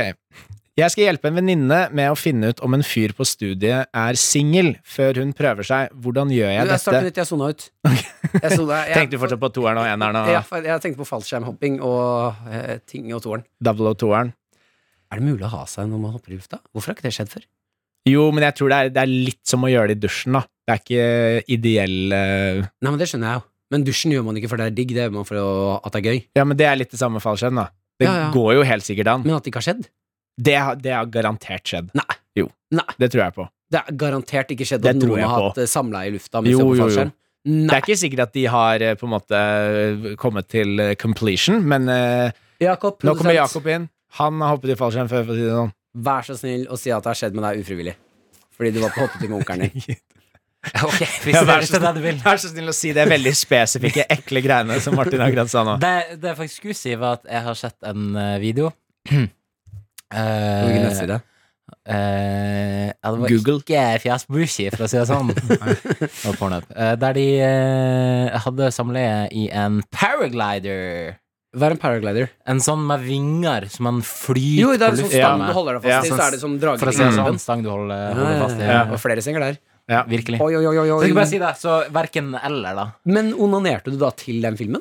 S2: Jeg skal hjelpe en venninne med å finne ut om en fyr på studiet er singel før hun prøver seg. Hvordan gjør jeg
S3: du, jeg
S2: dette?
S3: starter nytt, jeg sona ut. Jeg sona, jeg,
S2: Tenkte du fortsatt på toeren og eneren og
S3: Ja, for jeg tenkte på fallskjermhopping og eh, ting og toeren.
S2: double og toeren?
S3: Er det mulig å ha seg når man hopper i lufta? Hvorfor har ikke det skjedd før?
S2: Jo, men jeg tror det er, det er litt som å gjøre det i dusjen, da. Det er ikke ideell eh,
S3: Nei, men det skjønner jeg jo. Men dusjen gjør man ikke for det er digg, det gjør man for å, at det er gøy.
S2: Ja, men det er litt det samme fallskjerm, da. Det
S3: Ja, ja.
S2: går jo helt sikkert an.
S3: Men at det ikke har skjedd?
S2: Det, har- det har garantert skjedd.
S3: Nei.
S2: Jo.
S3: Nei.
S2: Det tror jeg på.
S3: Det er garantert ikke skjedd
S2: Det
S3: at
S2: tror
S3: noen
S2: jeg
S3: har
S2: på.
S3: hatt eh, samleie i lufta mens
S2: Jo,
S3: de er på
S2: jo, jo.
S3: fallskjerm.
S2: Det
S3: Nei.
S2: er ikke sikkert at de har eh, på en måte eh, kommet til eh, completion, men eh,
S3: Jakob,
S2: nå kommer
S3: produsent,
S2: Jakob inn. Han har hoppet i fallskjerm før, for å si det sånn.
S3: vær så snill å si at det har skjedd med deg ufrivillig. Fordi du var på hoppetur med onkelen din.
S4: Ok, hvis
S2: Ja,
S4: det
S2: vær
S4: er
S2: så
S4: ikke det du vil.
S2: Vær så snill å si det veldig spesifikke, ekle greiene som Martin akkurat sa nå.
S4: Det, det jeg faktisk skulle si, var at jeg har sett en eh, video.
S3: På hvilken
S4: Eh,
S3: nettside?
S4: Eh, ja, det var
S2: Google.
S4: ikke fjas på Bushy, for å si det sånn. Og Pornhub. Eh, der de eh, hadde samleie i en paraglider.
S3: Hva er en paraglider?
S4: En sånn med vinger som man flyr
S3: Jo, det
S4: på
S3: er en sånn
S4: lufta
S2: Ja.
S3: stang du
S4: med.
S3: holder deg fast i,
S4: Ja.
S3: så er det som drager
S4: For å si det
S2: Mm.
S4: sånn, stang du holder,
S3: Ja,
S4: holder
S3: ja,
S4: fast i.
S3: ja.
S2: Ja.
S3: Og flere senger der.
S4: Virkelig.
S3: Oi, oi, oi, oi,
S4: Så jeg skal
S3: oi.
S4: bare si det, så verken eller, da.
S3: Men onanerte du da til den filmen?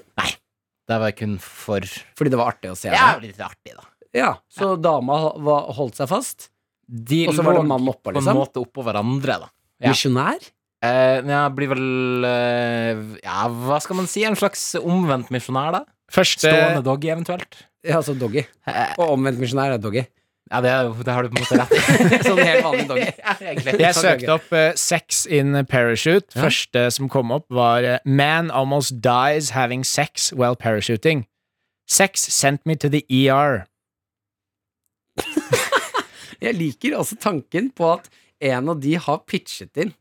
S4: Det var kun for
S3: Fordi det var artig å se?
S4: Ja,
S3: det?
S4: litt artig, da.
S3: ja. Så dama var, holdt seg fast?
S4: De
S3: Og så var det
S4: lå
S3: en mann oppå,
S4: på en
S3: liksom?
S4: måte oppå hverandre, da. Ja.
S3: Misjonær?
S4: Eh, men jeg blir vel eh, Ja, hva skal man si? En slags omvendt misjonær, da?
S2: Første
S4: Stående doggy, eventuelt?
S3: Ja, altså doggy.
S4: Eh,
S3: Og omvendt misjonær er doggy.
S4: Ja, det, er jo- det har du på en måte rett i.
S3: Sånn helt vanlig doggy.
S4: Ja, egentlig.
S2: Jeg søkte opp eh, sex in parachute. Første som kom opp, var eh, Man almost dies having sex while parachuting. Sex sent me to the E ER.
S3: Jeg liker også tanken på at en av de har pitchet inn.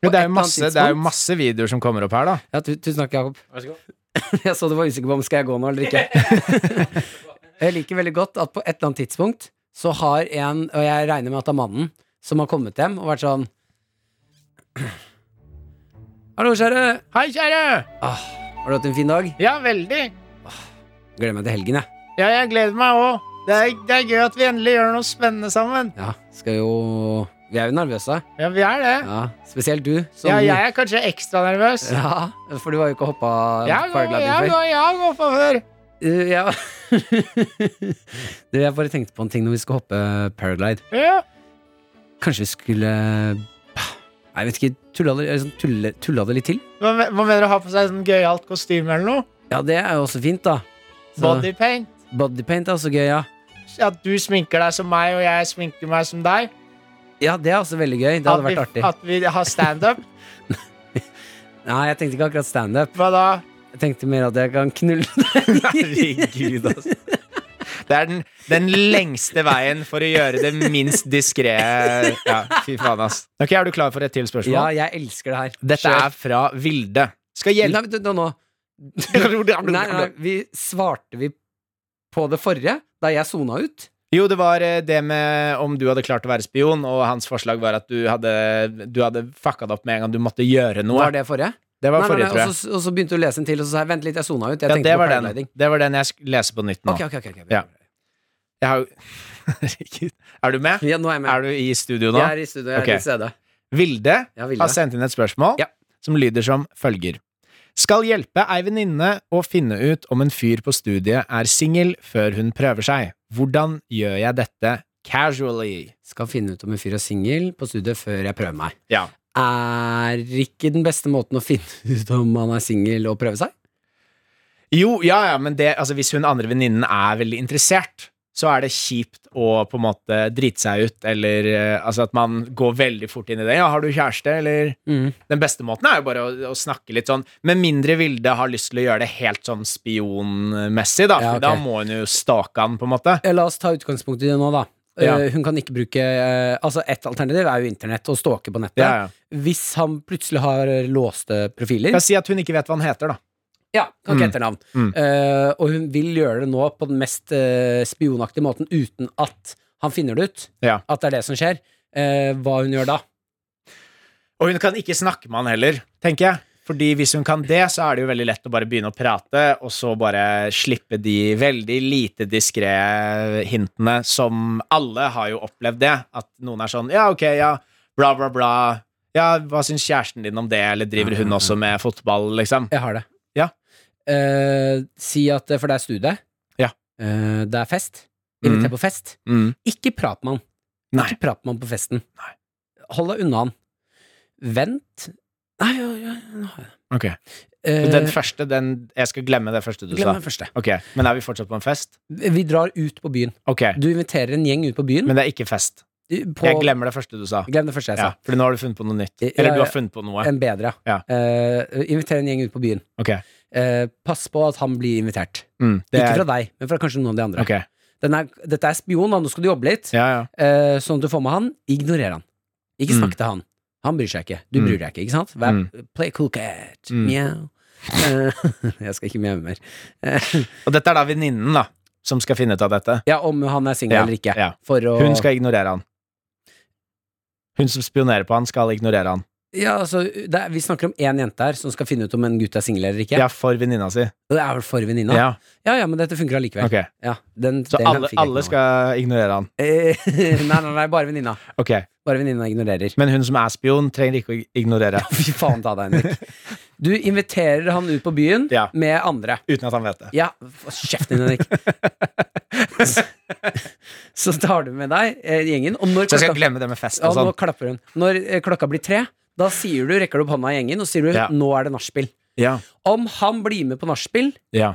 S2: Men
S3: På
S2: det
S3: et
S2: er, jo
S3: eller annet
S2: masse, det er jo
S3: tidspunkt.
S2: masse videoer som kommer opp her, da.
S3: Ja, tu tusen takk, Jakob.
S4: Vær så god.
S3: Jeg så du var usikker på om skal jeg gå nå eller ikke. jeg liker veldig godt at på et eller annet tidspunkt så har en, og jeg regner med at det er mannen, som har kommet hjem og vært sånn Hallo, kjære.
S2: Hei, kjære!
S3: Ah, har du hatt en fin dag?
S2: Ja, veldig.
S3: Gleder meg til helgen, jeg.
S2: Ja, jeg gleder meg òg. Det, er- det er gøy at vi endelig gjør noe spennende sammen.
S3: Ja, skal jo Vi er jo nervøse.
S2: Ja, vi er det.
S3: Ja, Spesielt du. Som,
S2: Ja, jeg er kanskje ekstra nervøs.
S3: Ja, For du har jo ikke hoppa
S2: Jeg går,
S3: paragliding
S2: jeg
S3: før.
S2: går, jeg går på før.
S3: Uh, ja. du, jeg bare tenkte på en ting når vi skal hoppe paraglide.
S2: Ja.
S3: Kanskje vi skulle Nei, jeg vet ikke. Tulla det, liksom, tulle, tulla det litt til?
S2: Hva, me- hva mener du å ha på seg sånn gøyalt kostyme eller noe?
S3: Ja, det er jo også fint, da. Så-
S2: Bodypaint?
S3: Bodypaint er også gøy, ja.
S2: At du sminker deg som meg, og jeg sminker meg som deg?
S3: Ja, det er også veldig gøy. Det hadde
S2: at,
S3: vært
S2: vi,
S3: artig.
S2: at vi har standup?
S3: Nei, jeg tenkte ikke akkurat standup.
S2: Hva da?
S3: Jeg tenkte mer at jeg kan knulle
S2: Herregud, altså. Det er den, den lengste veien for å gjøre det minst diskré. Ja, fy faen, ass. Ok, Er du klar for et til spørsmål?
S3: Ja, jeg elsker det her.
S2: Dette er fra Vilde. Skal hjelpe
S3: Nei, men nå, nå. Nei, nei, vi svarte vi på det forrige, da jeg sona ut.
S2: Jo, det var eh, det med om du hadde klart å være spion, og hans forslag var at du hadde, du hadde fucka det opp med en gang du måtte gjøre noe.
S3: Var det forrige?
S2: Det var
S3: Nei, nei,
S2: forrige,
S3: nei,
S2: tror
S3: og,
S2: jeg.
S3: så, og så begynte du å lese en til, og så sa jeg vent litt, jeg sona ut. Jeg
S2: Ja,
S3: tenkte
S2: det
S3: på
S2: var, den.
S3: paragliding.
S2: det var den jeg sk- leser på nytt nå.
S3: Ok, ok, ok, ok.
S2: Ja. Jeg har jo Herregud. Er du med?
S3: Ja, nå er jeg med.
S2: Er du i studio nå?
S3: jeg er i studio, jeg er
S2: Ok.
S3: til stede.
S2: Vilde
S3: Ja, Vilde.
S2: har sendt inn et spørsmål
S3: Ja.
S2: som lyder som følger. Skal hjelpe ei venninne å finne ut om en fyr på studiet er singel før hun prøver seg. Hvordan gjør jeg dette casually?
S3: Skal finne ut om en fyr er singel på studiet før jeg prøver meg.
S2: Ja.
S3: Er ikke den beste måten å finne ut om han er singel og prøve seg?
S2: Jo, ja, ja, men det, altså, hvis hun andre venninnen er veldig interessert, så er det kjipt å på en måte drite seg ut, eller eh, altså at man går veldig fort inn i det. Ja, har du kjæreste, eller Den beste måten er jo bare å, å snakke litt sånn, med mindre Vilde har lyst til å gjøre det helt sånn spionmessig, da,
S3: Ja,
S2: for
S3: ok.
S2: da må hun jo stake han, på en måte.
S3: Eh, La oss ta utgangspunkt i det nå, da.
S2: Ja.
S3: Eh, Hun kan ikke bruke eh, Altså, ett alternativ er jo internett og stalke på nettet.
S2: Ja, ja.
S3: Hvis han plutselig har låste profiler,
S2: Jeg si at hun ikke vet hva han heter, da.
S3: Ja, kan ikke
S2: Mm.
S3: etternavn.
S2: Mm.
S3: Eh, og hun vil gjøre det nå på den mest eh, spionaktige måten, uten at han finner det ut.
S2: Ja.
S3: At det er det som skjer. Eh, hva hun gjør da?
S2: Og hun kan ikke snakke med han heller, tenker jeg. Fordi hvis hun kan det, så er det jo veldig lett å bare begynne å prate, og så bare slippe de veldig lite diskré hintene som alle har jo opplevd det. At noen er sånn Ja, ok, ja, bla, bla, bla. Ja, hva syns kjæresten din om det, eller driver hun også med fotball, liksom?
S3: Jeg har det.
S2: Ja.
S3: Eh, si at eh, For det er studie.
S2: Ja.
S3: Eh, det er fest. Inviter
S2: Mm.
S3: på fest.
S2: Mm.
S3: Ikke prat med han.
S2: Nei.
S3: Ikke prat med han på festen.
S2: Nei.
S3: Hold deg unna han. Vent Nei, ja, ja, nå har jeg det.
S2: Ok.
S3: Eh,
S2: Den første, den Jeg skal glemme det første du
S3: Glem
S2: sa.
S3: den første.
S2: Ok, Men er vi fortsatt på en fest?
S3: Vi drar ut på byen.
S2: Ok,
S3: Du inviterer en gjeng ut på byen.
S2: men det er ikke fest.
S3: på,
S2: Jeg glemmer det første du sa.
S3: Glem det første jeg
S2: Ja,
S3: sa.
S2: fordi nå har du funnet på noe nytt.
S3: Ja,
S2: Eller du
S3: ja.
S2: har funnet på noe.
S3: En bedre,
S2: Ja.
S3: Eh, inviter en gjeng ut på byen.
S2: Ok.
S3: Eh, pass på at han blir invitert.
S2: Mm, det
S3: Ikke
S2: er
S3: fra deg, men fra kanskje noen av de andre.
S2: Ok.
S3: Den er, dette er spion, da. nå skal du jobbe litt.
S2: Ja, ja.
S3: Eh, sånn at du får med han. Ignorer han. Ikke
S2: Mm.
S3: snakk til han. Han bryr seg ikke. Du
S2: Mm.
S3: bryr deg ikke, ikke sant? Vær, Play cool cat.
S2: Mm.
S3: Mjau. Eh, jeg skal ikke mjaue mer. Eh,
S2: Og dette er da venninnen, da, som skal finne ut av dette.
S3: ja, om han er singel
S2: Ja,
S3: eller ikke.
S2: ja.
S3: For å
S2: Hun skal ignorere han. Hun som spionerer på han, skal ignorere han.
S3: ja, altså, det er, Vi snakker om én jente her som skal finne ut om en gutt er singel eller ikke.
S2: Ja, for venninna si.
S3: Og Det er vel for venninna. Ja.
S2: Ja,
S3: ja men dette funker allikevel.
S2: ok.
S3: Ja, den,
S2: Så
S3: den
S2: alle,
S3: fikk jeg ikke
S2: alle
S3: med meg.
S2: skal ignorere han.
S3: Eh, nei, nei, nei, bare venninna.
S2: Ok.
S3: Bare venninna ignorerer.
S2: Men hun som er spion, trenger ikke å ignorere.
S3: Fy faen ta deg, Henrik. Du inviterer han ut på byen
S2: Ja.
S3: med andre.
S2: Uten at han vet det.
S3: Ja, få kjeften din, Henrik. Så- Så tar du med deg eh, gjengen, og når
S2: Så jeg skal
S3: klokka,
S2: glemme det med fest
S3: ja,
S2: og
S3: nå
S2: sånn.
S3: klapper hun. Når eh, klokka blir tre, da sier du, rekker du opp hånda i gjengen og sier du
S2: Ja.
S3: 'nå er det nachspiel'.
S2: Ja.
S3: Om han blir med på nachspiel,
S2: ja.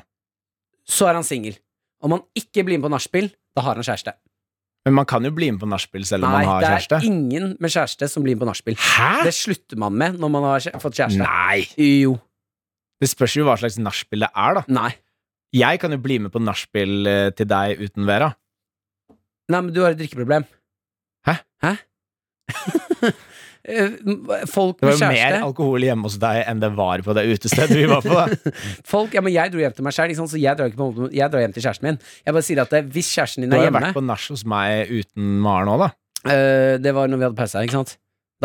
S3: så er han singel. Om han ikke blir med på nachspiel, da har han kjæreste.
S2: Men man kan jo bli med på nachspiel selv om man har
S3: det er
S2: kjæreste.
S3: ingen med kjæreste som blir med på nachspiel.
S2: Hæ?
S3: Det slutter man med når man har kjæ- fått kjæreste.
S2: Nei!
S3: Jo.
S2: Det spørs jo hva slags nachspiel det er, da.
S3: Nei.
S2: Jeg kan jo bli med på nachspiel eh, til deg uten Vera.
S3: Nei, men du har et drikkeproblem.
S2: Hæ?
S3: Hæ? Eh, Folk
S2: Det
S3: med
S2: var jo mer
S3: kjæreste
S2: alkohol hjemme hos deg enn det var på det utestedet vi var på. da.
S3: Folk, ja, men Jeg dro hjem til meg sjøl, så jeg drar, ikke på, jeg drar hjem til kjæresten min. Jeg bare sier at eh, hvis kjæresten din
S2: Du
S3: er
S2: har jo
S3: hjemme
S2: vært på nach hos meg uten Maren òg, da.
S3: eh, Det var når vi hadde pause her, ikke sant?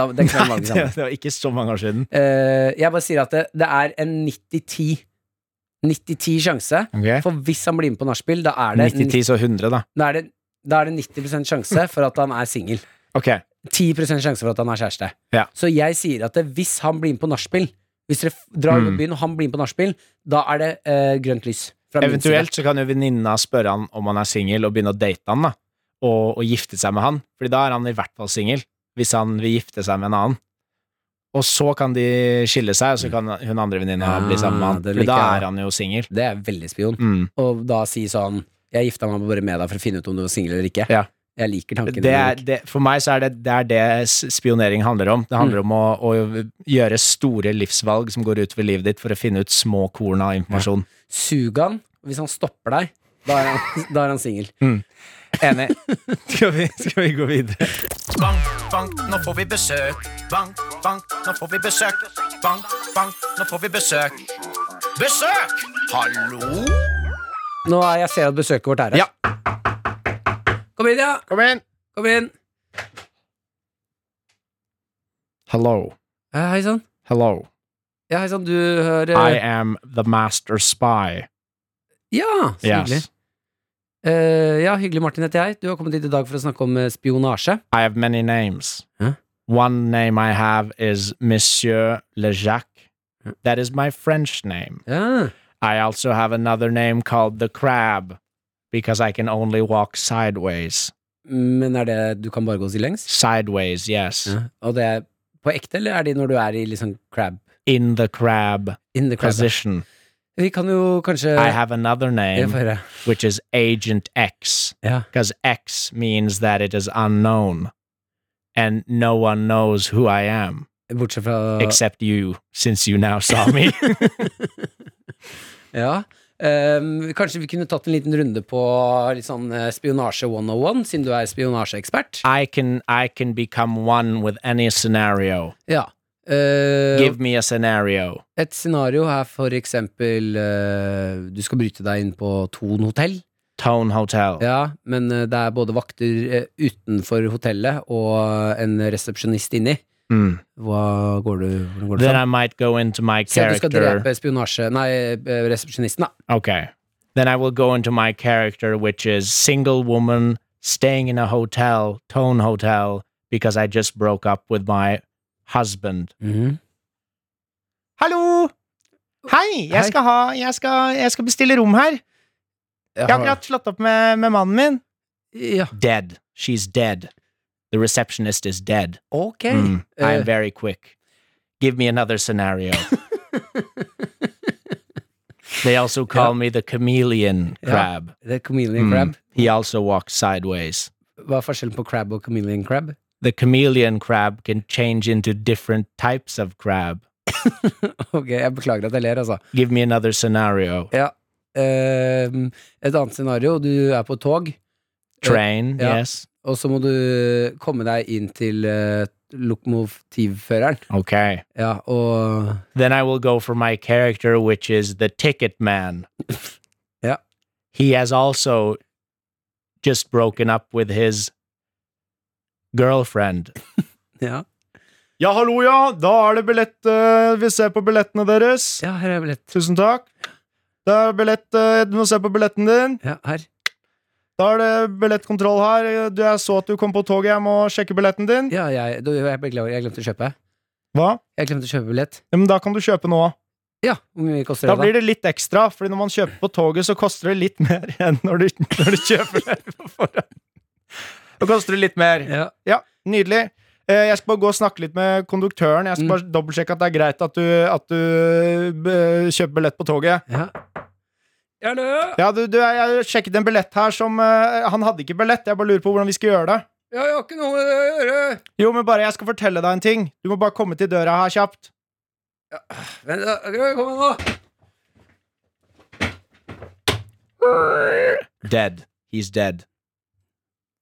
S3: Da, den kvelden var vi
S2: det,
S3: sammen.
S2: det var ikke så mange år siden.
S3: Eh, jeg bare sier at det, det er en 90-10 90-10 sjanse. For hvis han blir med på nachspiel, da er det
S2: 90-10, så 100, da.
S3: da er det, da er det 90 sjanse for at han er singel.
S2: Ok,
S3: 10 sjanse for at han er kjæreste.
S2: Ja.
S3: Så jeg sier at det, hvis han blir med på nachspiel, hvis dere f- drar ut på
S2: Mm.
S3: byen og han blir med på nachspiel, da er det eh, grønt lys. Fra min
S2: Eventuelt så kan jo venninna spørre han om han er singel, og begynne å date han, da. Og, og gifte seg med han. Fordi da er han i hvert fall singel, hvis han vil gifte seg med en annen. Og så kan de skille seg, og så kan hun andre venninna
S3: Ah,
S2: bli sammen med han.
S3: det
S2: For da
S3: liker jeg.
S2: er han jo singel.
S3: side. Det er veldig spion.
S2: Mm.
S3: Og da si sånn Jeg gifta meg bare med deg for å finne ut om du var singel eller ikke.
S2: Ja.
S3: Jeg Mm. liker tanken.
S2: det er,
S3: Henrik.
S2: det, for meg så er det, det er det s- spionering handler om. Det handler om å, å gjøre store livsvalg som går utover livet ditt, for å finne ut små korn av informasjon.
S3: Sug han. Hvis han stopper deg,
S2: Mm.
S3: da er han, da er han singel.
S2: Enig. skal, vi, skal vi gå videre?
S5: Bank, bank, nå får vi besøk. Bank, bank, nå får vi besøk. Bank, bank, nå får vi besøk. Besøk! Hallo?
S3: Nå er jeg ser at besøket vårt er her.
S2: Ja.
S3: Kom inn, ja.
S2: Kom inn!
S3: Kom inn.
S2: Hello.
S3: Eh, hei sann.
S2: Hello.
S3: Ja, hei sann, du hører
S2: I am the master spy.
S3: Ja, så hyggelig.
S2: Yes.
S3: Eh, ja, hyggelig, Martin heter jeg. Du har kommet hit i dag for å snakke om eh, spionasje.
S2: I have many names.
S3: Huh?
S2: One name I have is Monsieur Lejac. That is my French name.
S3: Ja.
S2: I also have another name called the crab because I can only walk sideways.
S3: Men er det Du kan bare gå stilllengs?
S2: Sideways, yes.
S3: Ja. Og det er på ekte, eller er de når du er i liksom crab?
S2: In the crab
S3: In the crab?
S2: position.
S3: Vi kan jo kanskje
S2: I have another
S3: Jeg
S2: name
S3: får høre.
S2: which is Agent X
S3: Ja.
S2: because X means that it is unknown and no one knows who I am
S3: Bortsett fra
S2: except you since you now saw me.
S3: Ja. Ehm, kanskje vi kunne tatt en liten runde på litt sånn eh, spionasje 101, siden du er spionasjeekspert.
S2: I can I can become one with any scenario.
S3: Ja. Eh,
S2: Give me a scenario.
S3: et scenario er for eksempel eh, Du skal bryte deg inn på Thon hotell.
S2: Tone Hotel.
S3: Ja, men eh, det er både vakter eh, utenfor hotellet og en resepsjonist inni.
S2: Mm.
S3: Hva går du, hvordan går det
S2: Then I
S3: fram?
S2: might go into my
S3: Si at du skal
S2: character.
S3: drepe spionasje... Nei, eh, resepsjonisten, da.
S2: Okay. Then I will go into my character, which is single woman staying in a hotel, Tone Hotel, because I just broke up with my husband. Hallo! Hei,
S3: Hei. skal
S2: ha Jeg skal, bestille rom her.
S3: Jeg har-
S2: slått opp med, mannen min.
S3: Ja,
S2: Dead. She's dead. The receptionist is dead.
S3: ok.
S2: Mm, I
S3: Eh.
S2: am very quick. Give me another scenario. they also call me the chameleon
S3: Yeah.
S2: crab.
S3: Det er chameleon
S2: Mm.
S3: crab.
S2: He also walks sideways.
S3: Hva er forskjellen på crab og chameleon crab?
S2: The chameleon crab can change into different types of crab.
S3: Ok, jeg beklager at jeg ler, altså.
S2: Give me another scenario.
S3: Ja. ehm, et annet scenario, du er på et tog,
S2: Eh, Train,
S3: yeah.
S2: yes.
S3: og så må du komme deg inn til eh, lokomotivføreren.
S2: Okay.
S3: Ja, og
S2: Then I will go for my character, which is the ticket man.
S3: Yeah.
S2: He has also just broken up with his girlfriend.
S3: Ja,
S2: Ja, hallo, ja. Da er det billett. eh, vi ser på billettene deres.
S3: ja her er billett.
S2: Tusen takk. Det er billett. eh, du må se på billetten din.
S3: Ja, her.
S2: Da er det billettkontroll her. Du, jeg så at du kom på toget. Jeg må sjekke billetten din.
S3: Ja, jeg, du, jeg beklager, jeg glemte å kjøpe.
S2: Hva?
S3: Jeg glemte å kjøpe billett.
S2: Ja, men da kan du kjøpe nå.
S3: Ja, hvor mye koster
S2: Da
S3: det, da?
S2: blir det litt ekstra, Fordi når man kjøper på toget, så koster det litt mer enn når du, når du kjøper det på forhånd. Da koster det litt mer.
S3: Ja.
S2: Ja, nydelig. Eh, Jeg skal bare gå og snakke litt med konduktøren. Jeg skal bare dobbeltsjekke at det er greit at du, at du eh, kjøper billett på toget.
S3: Ja. Ja, nå.
S2: Ja, du, du, jeg- jeg sjekket en billett her som eh, Han hadde ikke billett. Jeg bare lurer på hvordan vi skal gjøre det.
S3: Ja, jeg har ikke noe med det å gjøre.
S2: Jo, men bare jeg skal fortelle deg en ting. Du må bare komme til døra her kjapt.
S3: Vent, da. Kom igjen, nå.
S2: Dead. He's dead.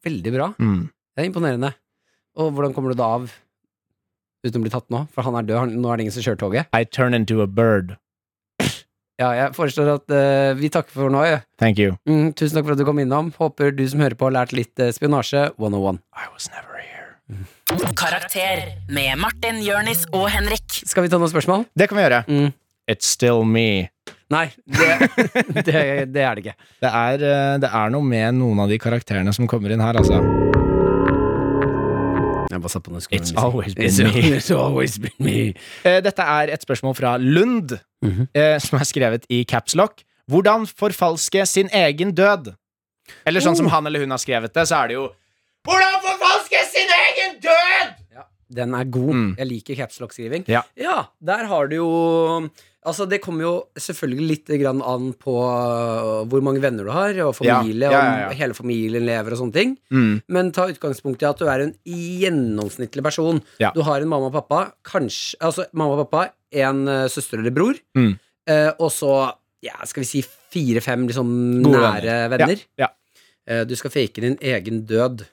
S3: Veldig bra.
S2: Mm.
S3: Det er imponerende. Og hvordan kommer du da av uten å bli tatt nå? For han er død, han, nå er det ingen som kjører toget.
S2: I turn into a bird.
S3: Ja, jeg foreslår at eh, vi takker for nå. Ja.
S2: Thank you.
S3: Mm, tusen takk for at du kom innom. Håper du som hører på har lært litt eh, spionasje 101.
S2: I was never here.
S1: Karakter med Martin, Jørnis og Henrik.
S3: Skal vi ta noen spørsmål?
S2: Det kan vi gjøre.
S3: Mm.
S2: It's still me.
S3: Nei, det, det, det er det ikke.
S2: Det er, eh, det er noe med noen av de karakterene som kommer inn her, altså.
S3: Jeg bare satt på den skolen.
S2: It's always been
S3: It's
S2: me.
S3: It's always been me.
S2: Eh, Dette er et spørsmål fra Lund,
S3: Mhm.
S2: eh, som er skrevet i caps lock. Hvordan forfalske sin egen død? Eller sånn som han eller hun har skrevet det, så er det jo Hvordan forfalske sin egen død?!
S3: Den er god.
S2: Mm.
S3: Jeg liker capslock-skriving.
S2: Ja.
S3: der har du jo Altså, det kommer jo selvfølgelig litt grann an på øh, hvor mange venner du har, og
S2: Ja. Ja,
S3: familie,
S2: ja, ja.
S3: om hele familien lever og sånne ting.
S2: Mm.
S3: Men ta utgangspunkt i at du er en gjennomsnittlig person.
S2: Ja.
S3: Du har en mamma og pappa, kanskje Altså mamma og pappa, en eh, søster eller bror,
S2: Mm.
S3: eh, og så ja, skal vi si fire-fem liksom
S2: Gode
S3: nære venner.
S2: Ja, ja.
S3: Eh, du skal fake din egen død.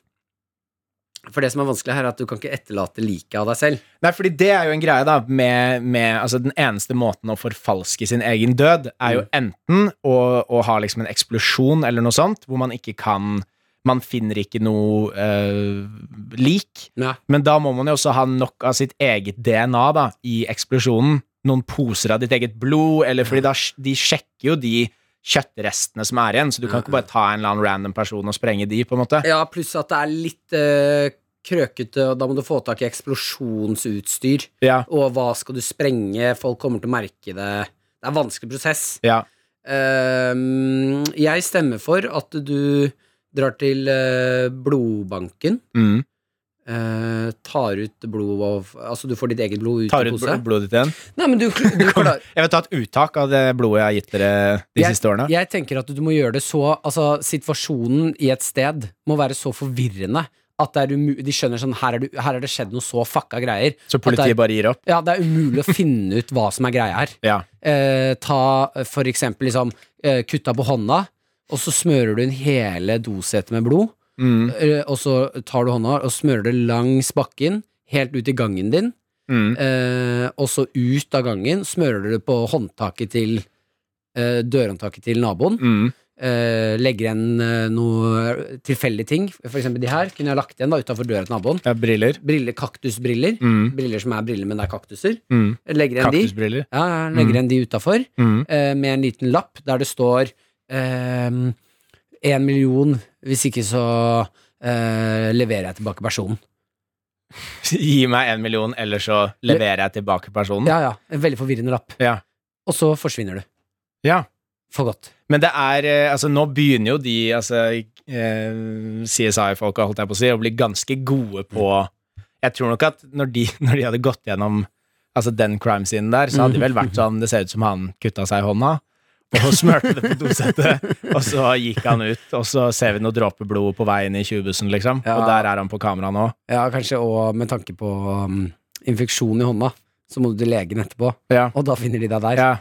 S3: For det som er vanskelig her, er at du kan ikke etterlate liket av deg selv.
S2: Nei, fordi det er jo en greie da med, med, altså Den eneste måten å forfalske sin egen død er jo enten å, å ha liksom en eksplosjon eller noe sånt, hvor man ikke kan Man finner ikke noe eh, lik.
S3: Nei.
S2: Men da må man jo også ha nok av sitt eget DNA da i eksplosjonen. Noen poser av ditt eget blod, eller fordi da, sj- de sjekker jo de kjøttrestene som er igjen, så du kan ikke bare ta en eller annen random person og sprenge de, på en måte.
S3: Ja, pluss at det er litt eh, krøkete, og da må du få tak i eksplosjonsutstyr.
S2: Ja,
S3: Og hva skal du sprenge? Folk kommer til å merke det. Det er en vanskelig prosess.
S2: ja.
S3: Ehm, jeg stemmer for at du drar til eh, blodbanken,
S2: Mm.
S3: eh, tar ut blod av Altså, du får ditt eget blod ut
S2: Tar
S3: i
S2: ut
S3: pose.
S2: bl- blodet ditt igjen.
S3: Nei, men du, du klarer
S2: Jeg vil ta et uttak av det blodet jeg har gitt dere de
S3: Jeg-
S2: siste årene.
S3: Jeg tenker at du må gjøre det så Altså, situasjonen i et sted må være så forvirrende at det er umu de skjønner sånn her er, du, her er det skjedd noe så fucka greier.
S2: Så
S3: at det
S2: politiet
S3: er,
S2: bare gir opp?
S3: Ja, det er umulig å finne ut hva som er greia her.
S2: Ja.
S3: Eh, ta eh, for eksempel liksom eh, kutta på hånda, og så smører du inn hele dosetet med blod.
S2: Mm,
S3: Eh, og så tar du hånda og smører det langs bakken, helt ut i gangen din.
S2: mm.
S3: Eh, og så ut av gangen smører du det på håndtaket til eh, dørhåndtaket til naboen.
S2: Mm.
S3: Eh, legger igjen eh, noe tilfeldige ting. For eksempel de her kunne jeg lagt igjen da utafor døra til naboen.
S2: Ja, briller.
S3: Briller, Kaktusbriller.
S2: Mm.
S3: Briller som er briller, men det er kaktuser.
S2: Mm.
S3: Legger igjen de.
S2: Kaktusbriller.
S3: Ja, ja, legger igjen de utafor
S2: Mm.
S3: eh, med en liten lapp der det står én million, hvis ikke så eh, leverer jeg tilbake personen.
S2: Gi meg en million, eller så leverer jeg tilbake personen.
S3: Ja, ja. En veldig forvirrende lapp.
S2: Ja.
S3: Og så forsvinner du.
S2: Ja.
S3: For godt.
S2: Men det er eh, Altså, nå begynner jo de altså, eh, CSI-folka, holdt jeg på å si, å bli ganske gode på Jeg tror nok at når de, når de hadde gått gjennom altså, den crime-scenen der, så hadde de vel vært sånn Det ser ut som han kutta seg i hånda. Og smurte det på dosettet, og så gikk han ut, og så ser vi noe dråpeblod på veien i 20-bussen, liksom. Og
S3: Ja.
S2: der er han på kamera nå.
S3: Ja, kanskje og med tanke på um, infeksjon i hånda, så må du til legen etterpå.
S2: Ja.
S3: Og da finner de deg der.
S2: Ja.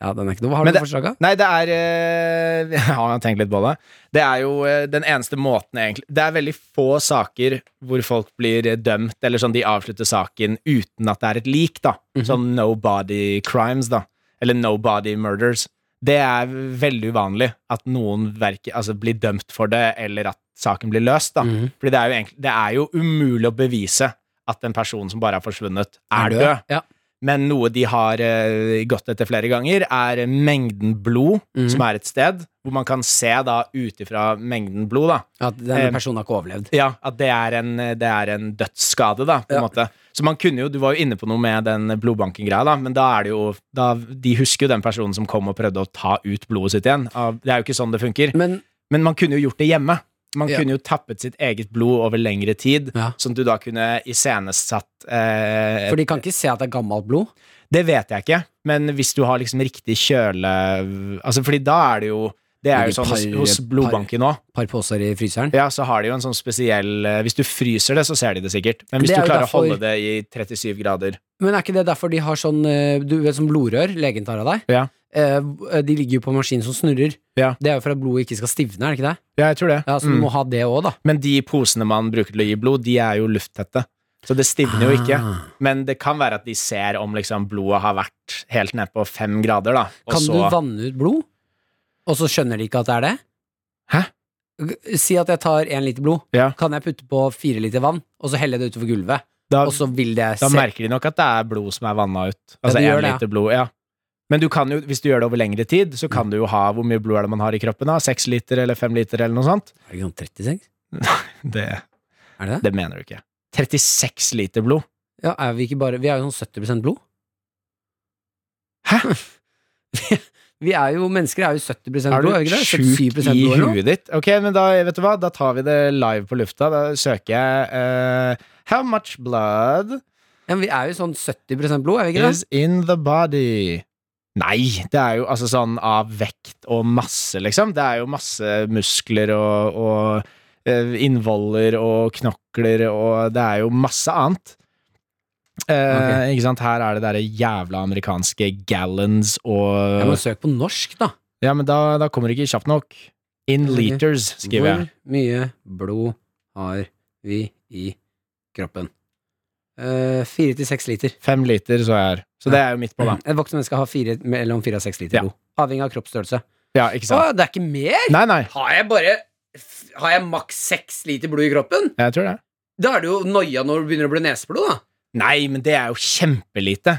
S3: Ja, den er ikke noe. Har
S2: Men
S3: du
S2: det-
S3: noe forslag? da?
S2: Nei, det er eh, Jeg har tenkt litt på det. Det er jo eh, den eneste måten, egentlig Det er veldig få saker hvor folk blir eh, dømt, eller sånn de avslutter saken uten at det er et lik, da. Sånn no body crimes, da. Eller no body murders. Det er veldig uvanlig at noen verke, altså, blir dømt for det, eller at saken blir løst, da. Fordi det er, jo egentlig, det er jo umulig å bevise at en person som bare har forsvunnet, er død.
S3: Ja.
S2: Men noe de har eh, gått etter flere ganger, er mengden blod
S3: Mhm.
S2: som er et sted, hvor man kan se da ut ifra mengden blod, da.
S3: At denne
S2: Eh,
S3: personen har ikke overlevd.
S2: Ja, at det er en, det er en dødsskade, da, på en
S3: Ja.
S2: måte. Så man kunne jo, du var jo inne på noe med den blodbanken-greia, da, men da er det jo da, De husker jo den personen som kom og prøvde å ta ut blodet sitt igjen. Av- Det er jo ikke sånn det funker.
S3: Men
S2: Men man kunne jo gjort det hjemme. Man
S3: Ja.
S2: kunne jo tappet sitt eget blod over lengre tid,
S3: Ja.
S2: sånn at du da kunne iscenesatt eh,
S3: For de kan ikke se at det er gammelt blod.
S2: Det vet jeg ikke, men hvis du har liksom riktig kjøle Altså, fordi da er det jo Det
S3: Men
S2: er
S3: de
S2: jo sånn hos,
S3: par-
S2: hos blodbanken òg.
S3: Par poser i fryseren.
S2: Ja, så har de jo en sånn spesiell eh, Hvis du fryser det, så ser de det sikkert. Men hvis
S3: Det
S2: du
S3: er jo
S2: klarer
S3: derfor-
S2: å holde det i 37 grader
S3: Men er ikke det derfor de har sånn eh, Du vet sånn blodrør legen tar av deg?
S2: Ja.
S3: Eh, De ligger jo på maskinen som snurrer.
S2: Ja.
S3: Det er jo for at blodet ikke skal stivne, er det ikke det?
S2: Ja, jeg tror det.
S3: Ja, Så du
S2: mm.
S3: må ha det òg, da.
S2: Men de posene man bruker til å gi blod, de er jo lufttette. Så det stivner jo ikke.
S3: Ah.
S2: Men det kan være at de ser om liksom blodet har vært helt ned på fem grader, da. Og
S3: Kan
S2: så
S3: du vanne ut blod, og så skjønner de ikke at det er det?
S2: Hæ?
S3: G- Si at jeg tar én liter blod.
S2: Ja.
S3: Kan jeg putte på fire liter vann, og så helle det utover gulvet?
S2: da,
S3: Og så vil det
S2: da
S3: se
S2: merker de nok at det er blod som er vanna ut. Altså
S3: det
S2: én
S3: gjør det, ja.
S2: liter blod. Ja. Men du kan jo, hvis du gjør det over lengre tid, så
S3: Mm.
S2: kan du jo ha hvor mye blod er det man har i kroppen. da? Seks liter eller fem liter eller noe sånt?
S3: Er det ikke sånn 36?
S2: Det,
S3: Er det det?
S2: det mener du ikke. 36 liter blod.
S3: Ja, er vi ikke bare Vi er jo sånn 70 blod.
S2: Hæ?
S3: Vi er jo Mennesker er jo 70
S2: Er
S3: blod, er
S2: du
S3: vi ikke det?
S2: sjuk
S3: 77
S2: i
S3: blod eller noe?
S2: huet ditt? Ok, men da, vet du hva? da tar vi det live på lufta. Da søker jeg eh, How much blood
S3: Ja, men vi er jo sånn 70 blod, er vi ikke det?
S2: is in the body? Nei, det er jo altså sånn av vekt og masse, liksom. Det er jo masse muskler og, og eh, innvoller og knokler og Det er jo masse annet. Eh, Ikke sant? Her er det derre jævla amerikanske gallons og
S3: Jeg må søke på norsk, da.
S2: Ja, men da, da kommer det ikke kjapt nok. In
S3: Ok.
S2: liters, skriver jeg.
S3: Hvor mye blod har vi i kroppen. Eh, Fire til seks liter.
S2: Fem liter, så er jeg her. Så det er jo midt på, da.
S3: Et voksen menneske har fire, mellom fire og seks liter
S2: Ja.
S3: blod. Avhengig av kroppsstørrelse.
S2: Ja, ikke
S3: Å,
S2: sant?
S3: det er ikke mer!
S2: Nei, nei.
S3: Har jeg bare f- Har jeg maks seks liter blod i kroppen?
S2: Jeg tror det.
S3: Da er det jo noia når det begynner å bli neseblod, da.
S2: Nei, men det er jo kjempelite.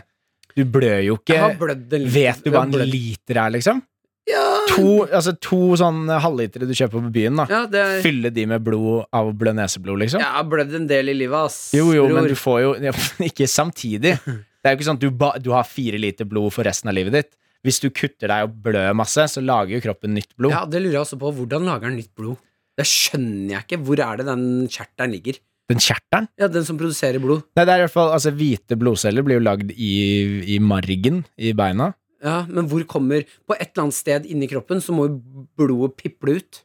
S2: Du blør jo
S3: Jeg har
S2: ikke
S3: blødd en
S2: Vet du hva
S3: jeg har
S2: en
S3: blødd-
S2: liter er, liksom?
S3: Ja,
S2: To, altså, to sånne halvlitere du kjøper på byen, da.
S3: ja det er
S2: Fylle de med blod av å blø neseblod, liksom?
S3: Jeg har blødd en del i livet, ass.
S2: Jo, jo, men
S3: bror.
S2: du får jo ja, Ikke samtidig. Det er jo ikke sånn at du, ba, du har fire liter blod for resten av livet ditt. Hvis du kutter deg og blør masse, så lager jo kroppen nytt blod.
S3: Ja, det lurer jeg også på. Hvordan lager den nytt blod? Det skjønner jeg ikke. Hvor er det den kjertelen ligger?
S2: Den kjertelen
S3: Ja, den som produserer blod.
S2: Nei, det er i hvert fall Altså, hvite blodceller blir jo lagd i, i margen i beina.
S3: Ja, men hvor kommer På et eller annet sted inni kroppen så må jo blodet piple ut.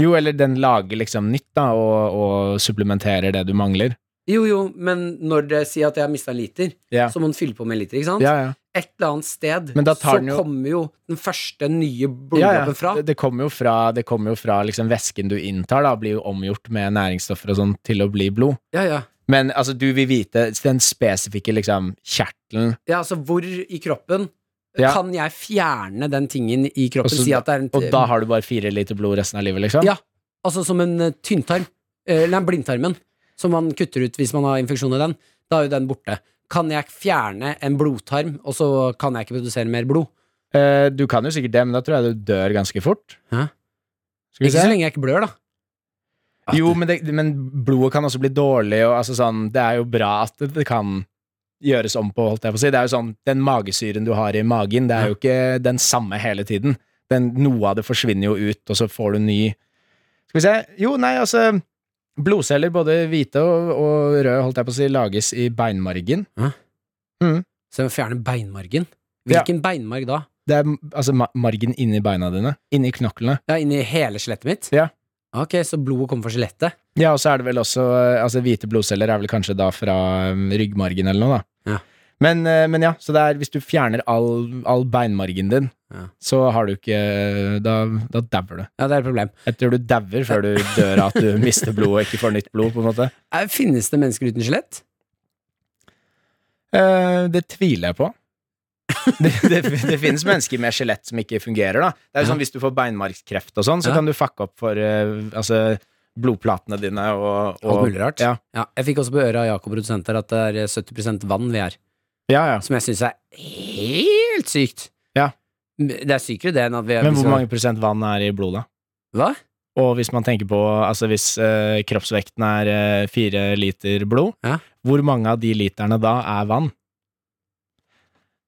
S2: Jo, eller den lager liksom nytt, da, og, og supplementerer det du mangler.
S3: Jo, jo, men når det sier at jeg har mista en liter,
S2: Ja.
S3: så må den fylle på med en liter, ikke sant?
S2: Ja, ja.
S3: Et eller annet sted
S2: Men da tar
S3: så
S2: den jo-
S3: kommer jo den første
S2: ja,
S3: nye bloddråpen
S2: ja.
S3: fra.
S2: Det, det kommer jo fra, det kommer jo fra liksom, væsken du inntar, da, blir jo omgjort med næringsstoffer og sånn til å bli blod.
S3: Ja, ja.
S2: Men altså, du vil vite den spesifikke liksom, kjertelen
S3: ja, altså hvor i kroppen
S2: Ja.
S3: kan jeg fjerne den tingen i kroppen?
S2: Og så-
S3: si at det er en
S2: Og da har du bare fire liter blod resten av livet, liksom?
S3: Ja, altså som en eh, tynntarm. Eh, Eller en blindtarmen, som man kutter ut hvis man har infeksjon i den. Da er jo den borte. Kan jeg fjerne en blodtarm, og så kan jeg ikke produsere mer blod?
S2: Eh, du kan jo sikkert det, men da tror jeg du dør ganske fort.
S3: Hæ?
S2: Skal vi
S3: Ikke så
S2: se?
S3: lenge jeg ikke blør, da.
S2: Jo, men, det, men blodet kan også bli dårlig, og altså sånn Det er jo bra at det, det kan gjøres om på, holdt jeg på å si. Det er jo sånn Den magesyren du har i magen, det er jo ikke den samme hele tiden. Den, noe av det forsvinner jo ut, og så får du ny Skal vi se Jo, nei, altså Blodceller, både hvite og, og røde, holdt jeg på å si, lages i beinmargen.
S3: Så jeg må fjerne beinmargen.
S2: Ja.
S3: Hvilken beinmarg da?
S2: Det er altså ma margen inni beina dine. Inni knoklene.
S3: Ja, Inni hele skjelettet mitt?
S2: Ja.
S3: Ok, så blodet kommer fra skjelettet?
S2: Ja, og så er det vel også eh, Altså hvite blodceller er vel kanskje da fra eh, ryggmargen eller noe, da.
S3: Ja.
S2: Men, eh, men ja, så det er hvis du fjerner all, all beinmargen din,
S3: Ja.
S2: så har du ikke eh, Da, da dauer du.
S3: Ja, det er et problem.
S2: Jeg tror du dauer før du dør av at du mister blod og ikke får nytt blod, på en måte.
S3: Eh, Finnes det mennesker uten skjelett?
S2: Eh, det tviler jeg på. det, det, det finnes mennesker med skjelett som ikke fungerer, da. Det er jo sånn Hvis du får beinmargskreft og sånn, så
S3: Ja.
S2: kan du fucke opp for eh, altså, blodplatene dine og, og
S3: Alt mulig rart.
S2: Ja,
S3: Ja, jeg fikk også på øret av Jakob produsent her at det er 70 vann vi er.
S2: ja. ja.
S3: Som jeg syns er helt sykt.
S2: Ja.
S3: Det er sykere det enn at vi
S2: Men
S3: vi
S2: hvor
S3: skal-
S2: mange prosent vann er i blodet?
S3: Hva?
S2: Og hvis man tenker på Altså hvis eh, kroppsvekten er eh, fire liter blod,
S3: Ja.
S2: hvor mange av de literne da er vann?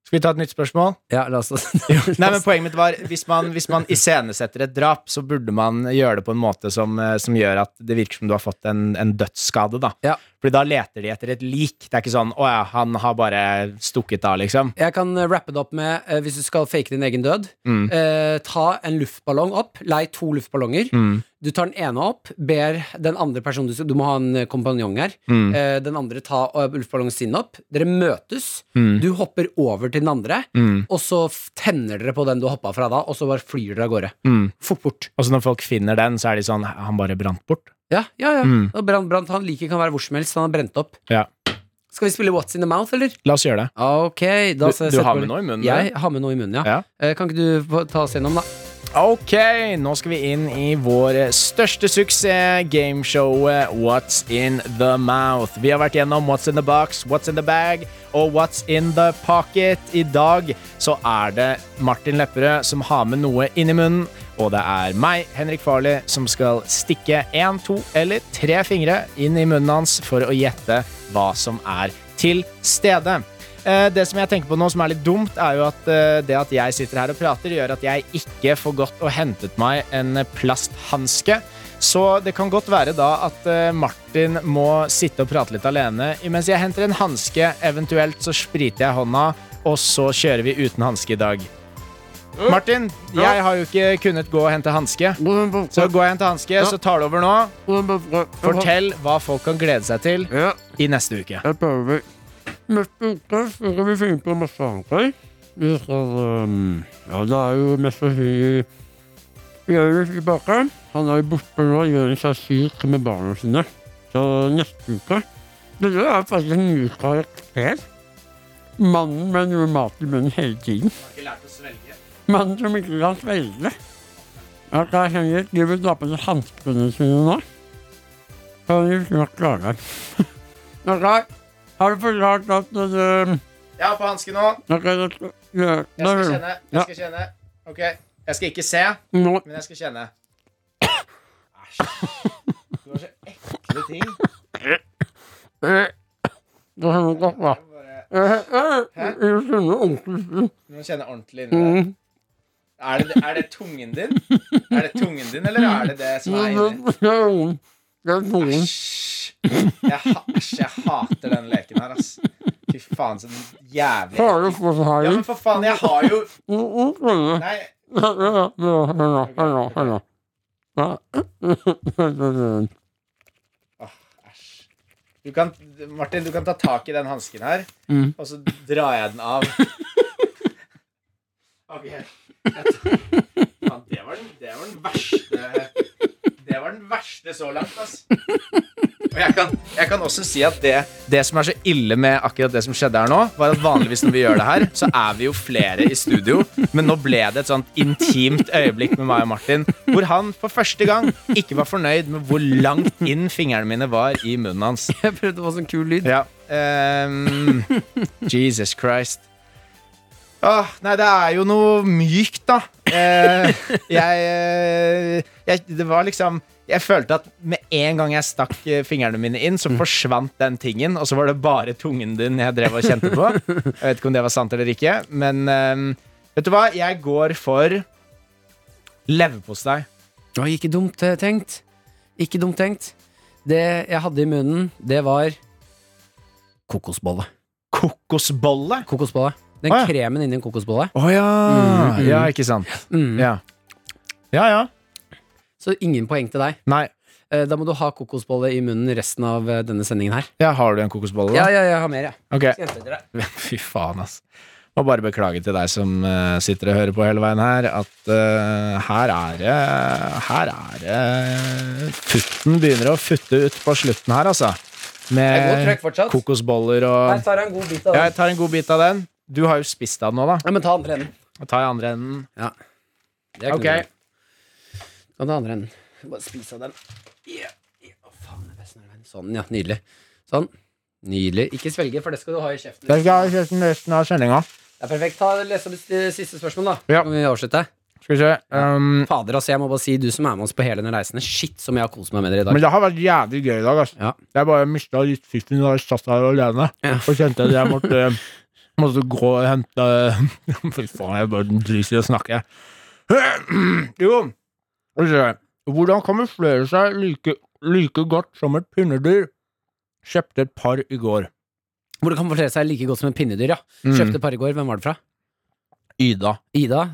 S2: Skal vi ta et nytt spørsmål?
S3: Ja, la oss
S2: Nei, men Poenget mitt var hvis man, hvis man iscenesetter et drap, så burde man gjøre det på en måte som, eh, som gjør at det virker som du har fått en, en dødsskade. da
S3: Ja.
S2: Fordi da leter de etter et lik. Det er ikke sånn 'Å ja, han har bare stukket av', liksom.
S3: Jeg kan eh, rappe det opp med, eh, hvis du skal fake din egen død,
S2: Mm.
S3: eh, ta en luftballong opp, lei to luftballonger.
S2: Mm.
S3: Du tar den ene opp, ber den andre personen du skal Du må ha en eh, kompanjong her.
S2: Mm.
S3: Eh, Den andre tar eh, luftballongen sin opp. Dere møtes.
S2: Mm.
S3: Du hopper over til den andre,
S2: Mm.
S3: og så f- tenner dere på den du hoppa fra da, og så bare flyr dere av gårde.
S2: Mm.
S3: Fort bort.
S2: Og så når folk finner den, så er de sånn 'Han bare brant bort'.
S3: Ja, ja, ja.
S2: Mm.
S3: Og Brant, brant, han liker kan være hvor som helst. Han har brent opp.
S2: Ja.
S3: Skal vi spille What's in the mouth, eller?
S2: La oss gjøre det.
S3: Ah, Ok, da
S2: Du, du har med noe i munnen?
S3: Jeg har med noe i munnen, ja.
S2: Ja.
S3: Eh, Kan ikke du få ta oss gjennom, da?
S2: Ok, nå skal vi inn i vår største suksess, gameshowet What's in the mouth. Vi har vært gjennom What's in the box, What's in the bag og What's in the pocket. I dag så er det Martin Lepperød som har med noe inn i munnen, og det er meg, Henrik Farley, som skal stikke én, to eller tre fingre inn i munnen hans for å gjette hva som er til stede. Eh, Det som jeg tenker på nå som er litt dumt, er jo at eh, det at jeg sitter her og prater, gjør at jeg ikke får gått og hentet meg en plasthanske. Så det kan godt være da at eh, Martin må sitte og prate litt alene mens jeg henter en hanske. Eventuelt så spriter jeg hånda, og så kjører vi uten hanske i dag. Martin, jeg har jo ikke kunnet gå og hente hanske. Så går jeg og henter hanske, så tar du over nå. Fortell hva folk kan glede seg til i neste uke.
S6: Jeg prøver. Neste uke så skal vi finne på masse antall. Vi skal ehm, Ja, det er jo mest sannsynlig Jørgen tilbake. Han er jo borte nå. Jørgen er syk med barna sine. Så neste uke Det der er faktisk en ny karakter. Mannen med noe mat i munnen hele tiden. Mannen som ikke kan svelge. Jeg tar Henrik, sånn, de vil ta på seg hanskene sine nå. Så de vil nok klare det. Ok, har du forklart at eh, du
S2: Jeg har på hansken nå.
S6: Ok, da skal ja,
S2: Jeg skal
S6: da-
S2: kjenne.
S6: Ja.
S2: Jeg skal kjenne. Ok. Jeg skal ikke se,
S6: Nå,
S2: men jeg skal kjenne. Æsj. Det var så ekle ting.
S6: eh, Det er noe godt, da. Eh, eh, Jeg skjønner ordentlig.
S2: Du må kjenne ordentlig inni deg.
S6: Mm.
S2: Er det, er det tungen din? Er det tungen din, eller er det det som er inni?
S6: Det er noen. Det er noen.
S2: Æsj. Jeg, ha, æsj, jeg hater den leken her, ass. Fy faen, så den jævlig
S6: Har du fått
S2: Ja, men
S6: haien?
S2: for faen, jeg har jo
S6: Mm, mm, mm.
S2: Nei.
S6: Nei,
S2: Æsj. Du kan, Martin, du kan ta tak i den hansken her,
S6: Mm.
S2: og så drar jeg den av. ok. Jeg tar- Faen, det var, den, det var den verste Det var den verste så langt, ass. Og jeg kan, jeg kan også si at det, det som er så ille med akkurat det som skjedde her nå, var at vanligvis når vi gjør det her, så er vi jo flere i studio, men nå ble det et sånt intimt øyeblikk med meg og Martin, hvor han for første gang ikke var fornøyd med hvor langt inn fingrene mine var i munnen hans.
S3: Jeg prøvde å få sånn kul lyd.
S2: Ja. ehm, Jesus Christ. Åh, nei, det er jo noe mykt, da. Eh, jeg, eh, jeg Det var liksom Jeg følte at med en gang jeg stakk eh, fingrene mine inn, så forsvant den tingen, og så var det bare tungen din jeg drev og kjente på. Jeg vet ikke om det var sant eller ikke, men ehm, vet du hva? Jeg går for leverpostei.
S3: Oi, ikke dumt eh, tenkt. Ikke dumt tenkt. Det jeg hadde i munnen, det var kokosbolle.
S2: Kokosbolle?
S3: Kokosbolle. Den
S2: Å, ja.
S3: kremen inni en kokosbolle.
S2: Å ja.
S3: Mm, mm.
S2: Ja, ikke sant.
S3: Mm.
S2: Ja. Ja, ja.
S3: Så ingen poeng til deg.
S2: Nei.
S3: Eh, Da må du ha kokosbolle i munnen resten av eh, denne sendingen her.
S2: Ja, har du en kokosbolle? da?
S3: Ja, ja, jeg har mer, jeg.
S2: Ok.
S3: Skal hente etter deg.
S2: Fy faen, ass. Må bare beklage til deg som eh, sitter og hører på hele veien her, at eh, her er det Her er det Futten begynner å futte ut på slutten her, altså.
S3: Det er godt
S2: Med
S3: trøkk fortsatt.
S2: kokosboller
S3: Her
S2: og
S3: tar jeg en god bit
S2: Eh,
S3: av
S2: Ja,
S3: den.
S2: jeg tar en god bit av den. Du har jo spist av den nå, da.
S3: Ja, men ta andre enden.
S2: Jeg tar i andre enden.
S3: Det er ikke
S2: Ok.
S3: noe problem. Ta den andre enden. Bare spis av den. Ja, ja, å, faen, det er best når det er den. Sånn, ja. Nydelig. Sånn. Nydelig. Ikke svelge, for det skal du ha i kjeften.
S2: Det skal jeg kjøpe resten av sendinga.
S3: Det er perfekt. Ta Les opp det siste spørsmål, da.
S2: Ja.
S3: Så kan vi avslutte.
S2: Skal vi se. Um,
S3: Fader, altså, jeg må bare si du som er med oss på hele denne reisen. Shit, som jeg har kost meg med dere i dag.
S2: men det har vært jævlig gøy i dag, altså.
S3: Ja.
S2: Jeg bare mista litt fytten da jeg satt her alene.
S3: Ja.
S2: Og kjente at jeg måtte, måtte gå og hente Fy faen, jeg bare driter i å snakke. Jo, skal vi se. Hvordan kamuflere seg like, like godt som et pinnedyr? Kjøpte et par i går.
S3: Hvor det kan fortere seg like godt som en pinnedyr, ja.
S2: Mm.
S3: Kjøpte par i går. Hvem var det fra?
S2: Ida.
S3: Ida?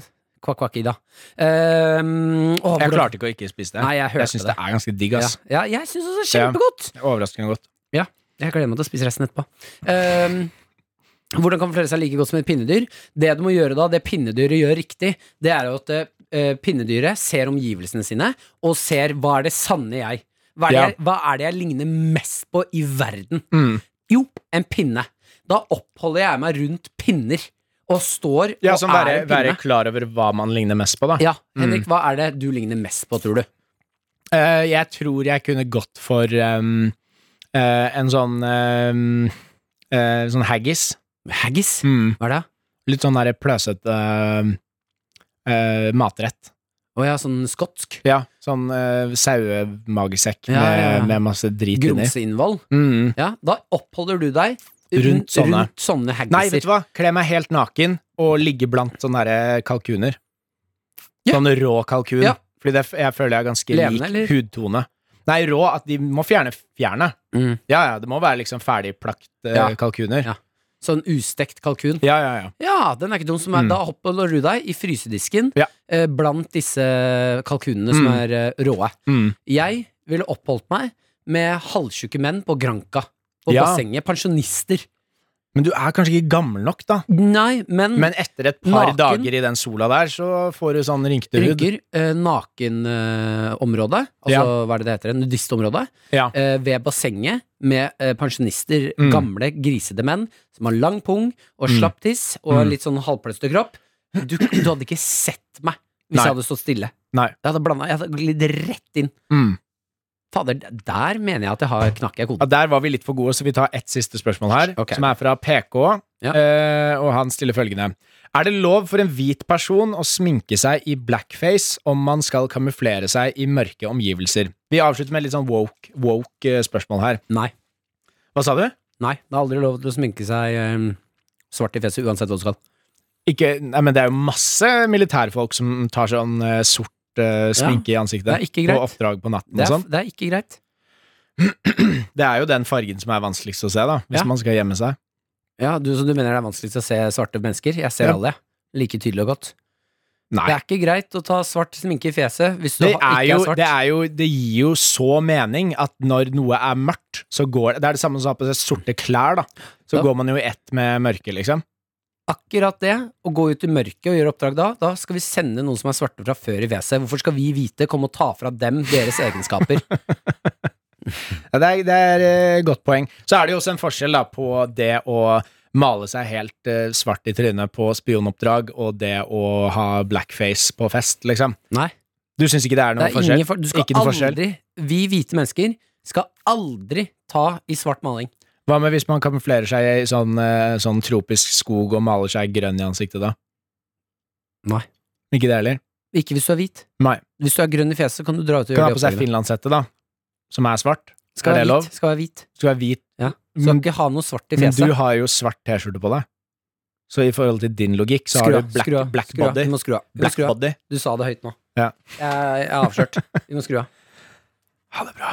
S3: Kvakk-kvakk-Ida. Um,
S2: Jeg klarte ikke å ikke spise det.
S3: Nei, jeg hørte
S2: jeg syns
S3: det.
S2: det er ganske digg,
S3: ja.
S2: ass.
S3: ja, jeg syns også det er kjempegodt!
S2: Det er Overraskende godt.
S3: Jeg gleder meg til å spise resten etterpå. Um, hvordan kan flere seg like godt som et pinnedyr? Det du må gjøre da, det pinnedyret gjør riktig, det er jo at eh, pinnedyret ser omgivelsene sine, og ser hva er det sanne jeg. Hva er det,
S2: Ja.
S3: jeg, hva er det jeg ligner mest på i verden?
S2: Mm.
S3: Jo, en pinne. Da oppholder jeg meg rundt pinner, og står
S2: Ja,
S3: og
S2: som være,
S3: er en
S2: være Mm.
S3: pinne.
S2: klar over hva man ligner mest på, da.
S3: Ja, Henrik, hva er det du ligner mest på, tror du?
S2: Eh, jeg tror jeg kunne gått for ehm, eh, en sånn ehm, eh, Sånn haggis.
S3: Haggis?
S2: Mm.
S3: Hva er det?
S2: Litt sånn der pløsete ehm, eh, matrett.
S3: Å ja, sånn skotsk?
S2: Ja, sånn uh, sauemagesekk
S3: Ja,
S2: med,
S3: ja, ja.
S2: med masse drit inni.
S3: Grumseinnvoll?
S2: Mm.
S3: Ja, da oppholder du deg
S2: Rundt sånne.
S3: rundt sånne
S2: Nei, vet du
S3: haggiser.
S2: hva? Kle meg helt naken og ligge blant sånne der eh, kalkuner.
S3: Ja.
S2: Sånn rå kalkun.
S3: Ja.
S2: Fordi det, f- jeg føler jeg er ganske
S3: Levende,
S2: lik
S3: eller?
S2: hudtone. Nei, rå at de må fjerne fjernet.
S3: Mm.
S2: Ja, ja, det må være liksom ferdigplakt eh,
S3: Ja.
S2: kalkuner.
S3: Ja. Sånn ustekt kalkun.
S2: Ja, ja, ja.
S3: Ja, den er ikke dum som er.
S2: Mm.
S3: Da oppholder du deg i frysedisken
S2: Ja.
S3: eh, blant disse kalkunene som
S2: Mm.
S3: er eh, råe.
S2: Mm.
S3: Jeg ville oppholdt meg med halvtjukke menn på Granka. På
S2: Ja.
S3: bassenget. Pensjonister.
S2: Men du er kanskje ikke gammel nok, da.
S3: Nei, men,
S2: Men etter et par
S3: Mm. Naken.
S2: dager i den sola der, så får du sånn rynkete hud.
S3: rygger, eh, nakenområdet, altså
S2: Ja.
S3: hva er det det heter, nudistområdet,
S2: Ja.
S3: eh, ved bassenget med eh, pensjonister,
S2: Mm.
S3: gamle, grisede menn som har lang pung og
S2: Mm.
S3: slapp tiss og
S2: Mm.
S3: litt sånn halvpløste kropp. Du, du hadde ikke sett meg hvis
S2: Nei.
S3: jeg hadde stått stille.
S2: Nei.
S3: Jeg hadde blanda, jeg hadde glidd rett inn.
S2: Mm.
S3: Fader, der mener jeg at jeg har knakk jeg
S2: Ja,
S3: koden.
S2: der var vi litt for gode, så vi tar ett siste spørsmål her,
S3: Ok.
S2: som er fra PK.
S3: Ja.
S2: eh, og han stiller følgende Er det lov for en hvit person å sminke seg i blackface om man skal kamuflere seg i mørke omgivelser? Vi avslutter med litt sånn woke, woke eh, spørsmål her.
S3: Nei.
S2: Hva sa du?
S3: Nei, det er aldri lov til å sminke seg eh, svart i fjeset uansett hva du skal.
S2: Ikke, nei, men det er jo masse militærfolk som tar sånn eh, sort eh, sminke i ansiktet.
S3: Det er ikke greit.
S2: På oppdrag på natten og
S3: Det er,
S2: sånn.
S3: det er ikke greit.
S2: Det er jo den fargen som er vanskeligst å se, da, hvis
S3: Ja.
S2: man skal gjemme seg.
S3: Ja, du, så du mener det er vanskeligst å se svarte mennesker? Jeg ser
S2: Ja.
S3: alle, jeg. like tydelig og godt.
S2: Nei.
S3: Det er ikke greit å ta svart sminke i fjeset hvis du
S2: Det
S3: ha-
S2: er,
S3: ikke
S2: jo,
S3: er svart.
S2: det er jo Det gir jo så mening at når noe er mørkt, så går det Det er det samme som å ha på seg sorte klær, da. Så
S3: Ja.
S2: går man jo i ett med mørket, liksom.
S3: Akkurat det, å gå ut i mørket og gjøre oppdrag da, da skal vi sende noen som er svarte fra før i fjeset. Hvorfor skal vi hvite komme og ta fra dem deres egenskaper?
S2: Ja, det er, det er eh, godt poeng. Så er det jo også en forskjell da på det å male seg helt eh, svart i trynet på spionoppdrag og det å ha blackface på fest, liksom.
S3: Nei,
S2: Du syns ikke det er
S3: det
S2: noen
S3: er
S2: forskjell?
S3: ingen for, du skal
S2: Ikke noe forskjell.
S3: aldri, vi hvite mennesker skal aldri ta i svart maling.
S2: Hva med hvis man kamuflerer seg i sånn, eh, sånn tropisk skog og maler seg grønn i ansiktet, da?
S3: Nei.
S2: Ikke det heller?
S3: Ikke hvis du er hvit.
S2: Nei.
S3: Hvis du er grønn i fjeset, kan du dra ut og
S2: Kan
S3: gjøre
S2: ha
S3: det
S2: på seg
S3: oppdraget.
S2: finlandshette, da. Som er svart. Er
S3: Skal være
S2: det lov?
S3: hvit. Skal være hvit.
S2: Du skal være hvit.
S3: Ja. Skal
S2: Men,
S3: ikke ha noe svart i
S2: men
S3: fjeset.
S2: du har jo svart T-skjorte på deg. Så i forhold til din logikk, så har du black,
S3: skru av,
S2: black
S3: skru av.
S2: body.
S3: Vi må skru av. Vi må
S2: Black
S3: skru av.
S2: body.
S3: Du sa det høyt nå.
S2: Ja.
S3: Jeg, jeg er avslørt. Vi må skru av.
S2: Ha det bra.